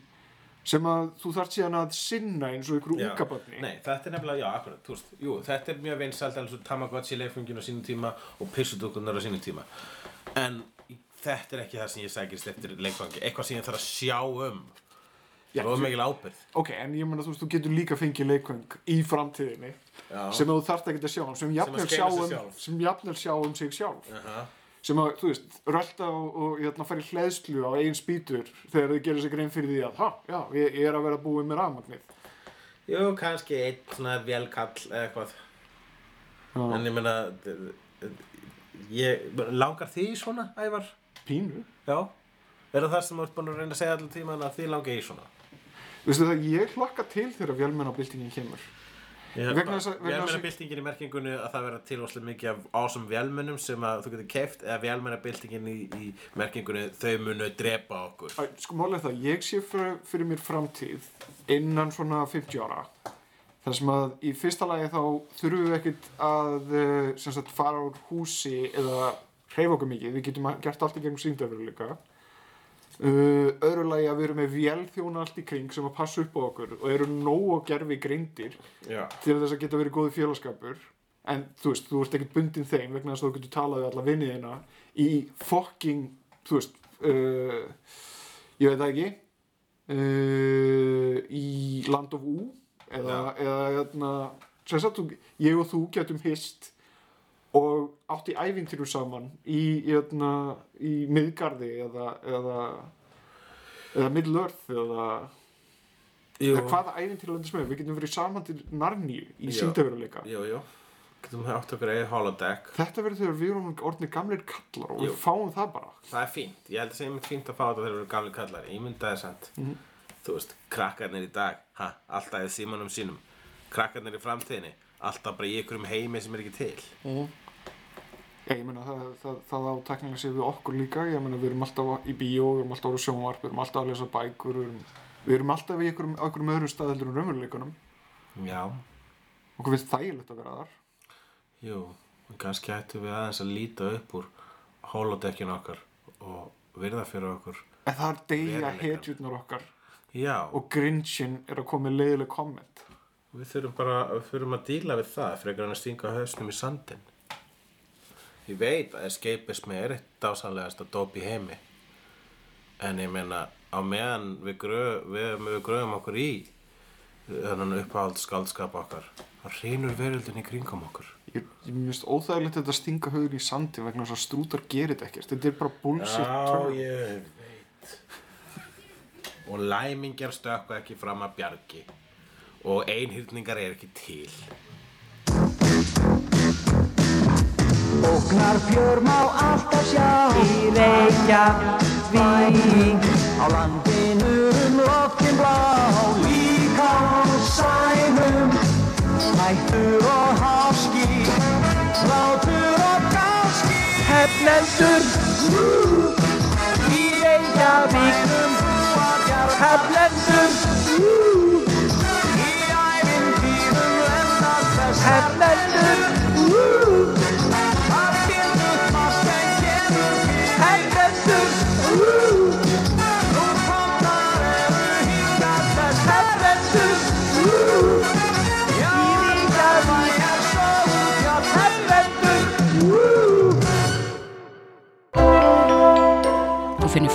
C: sem að þú þarf síðan að sinna eins og ykkur
B: Já.
C: ungabarni.
B: Nei, þetta er nefnilega, já, akkurat, þú veist, jú, þetta er mjög vinsælt eins og Tamagotchi leikfengin á sínum tíma og pissudúkunar á sínum tíma. En þetta er ekki það sem ég sækist eftir leikfangi, eitthvað sem ég þarf að sjá um.
C: Já,
B: Það var mikil ábyrgð.
C: Ok, en ég meina, þú veist, þú getur líka fengið leikvöng í framtíðinni
B: Já.
C: sem þú þarft ekki að sjá um, sem jafnvel
B: að
C: sjá
B: skeifa sig
C: um,
B: sjálf.
C: sem jafnvel sjá um sig sjálf.
B: Aha.
C: Sem að, þú veist, rölda og, og hérna, fara í hleðslu á eigin spýtur þegar þau gerir sér grein fyrir því að, ha, já, ég, ég er að vera búið með rafmagnið.
B: Jú, kannski einn svona velkall eða eitthvað.
C: Já.
B: En ég meina, d- d- ég, langar því svona, Ævar?
C: Pínu.
B: Já. Er það það sem þú ert búin að reyna að segja allir tíman að þið langi í svona?
C: Veistu það, ég hlakka til þegar vélmennabildingin kemur. Vegna þess að- vegna þess að-
B: Vélmennabildingin í merkingunni að það vera tilvæslega mikið af ásum vélmennum sem að þú getur keft eða vélmennabildingin í, í merkingunni þau munu drepa okkur.
C: Æ, Sko málega það, ég sé fyrir, fyrir mér framtíð innan svona 50 ára þar sem að í fyrsta lagi þá þurfum við ekkit að eh, sem sagt fara úr húsi eða hreyfa okkur mikið, við getum að- gert allt í gegnum síndaveruleika uh, öðru lagi að við erum með vélþjóna allt í kring sem að passa upp á okkur og eru nóg að gerfi greindir
B: Já.
C: til þess að geta verið góði félagskapur en þú veist, þú ert ekkert bundin þeim vegna þess að þú getur talað við alla vinnið þeina í fokking, þú veist uh, ég veit það ekki uh, í Land of U eða, eða hérna, sem sagt, þú- ég og þú getum hist og átt í ævintýru saman í, hérna, í miðgarði eða, eða eða Middle-earth eða
B: Jú,
C: eða hvaða ævintýralandi sem er, við getum verið saman til Narníu í
B: Já.
C: síndaveruleika
B: jú, jú. Getum við átt okkur eigið holodeck.
C: þetta verður þegar við erum orðinir gamlir kallar og
B: Jú.
C: við fáum það bara
B: Það er fínt. Ég held að segja mér fínt að fá þetta þegar við erum gamli kallar. Ég myndi það er sant. Þú veist, krakkarnir í dag, ha, alltaf í símanum sínum. Krakkarnir í framtíðinni, alltaf bara í ykkurum heimi sem er ekki til.
C: Já, ég meina, það, það, það átakninga sér við okkur líka ég meina, við erum alltaf í bíó, við erum alltaf ára sjónvarp við erum alltaf að lesa bækur við erum, við erum alltaf í einhverjum, á einhverjum öðrum staðildur um raunveruleikunum
B: Já.
C: okkur finnst þægilegt að vera þar
B: Jú, en kannski ættum við aðeins að líta upp úr holodekkinu okkar og virða fyrir okkur.
C: en það er degja
B: Veruleikann.
C: hetjurnar okkar
B: Já,
C: og grinchin er að koma með leiðileg komment
B: við þurfum bara við þurfum að díla við það frekar en að stinga hausnum í sandin. Ég veit að escapismi er eitt dásanlegasta dóp í heimi. En ég meina, á meðan við, gröf, við, við gröfum okkur í þennan uppáhald skaldskap okkar, þá hreinur veröldin í kringum okkur.
C: ég, ég minnst óþægilegt þetta að stinga höfðun í sandi vegna þess að strútar gerir þetta ekkert þetta er bara bullshit term.
B: ég veit Og læmingjar stökku ekki fram að bjargi Og einhyrningar er ekki til
D: Óknar fjör má alltaf sjá Í reykja vík Á landinu um loftin blá Líka á sænum Hættur og háski Látur og gáski Heflendur Í reykja vík Heflendur Í ævintýrum lenda þess Heflendur Heflendur Woo!
A: Þú finnir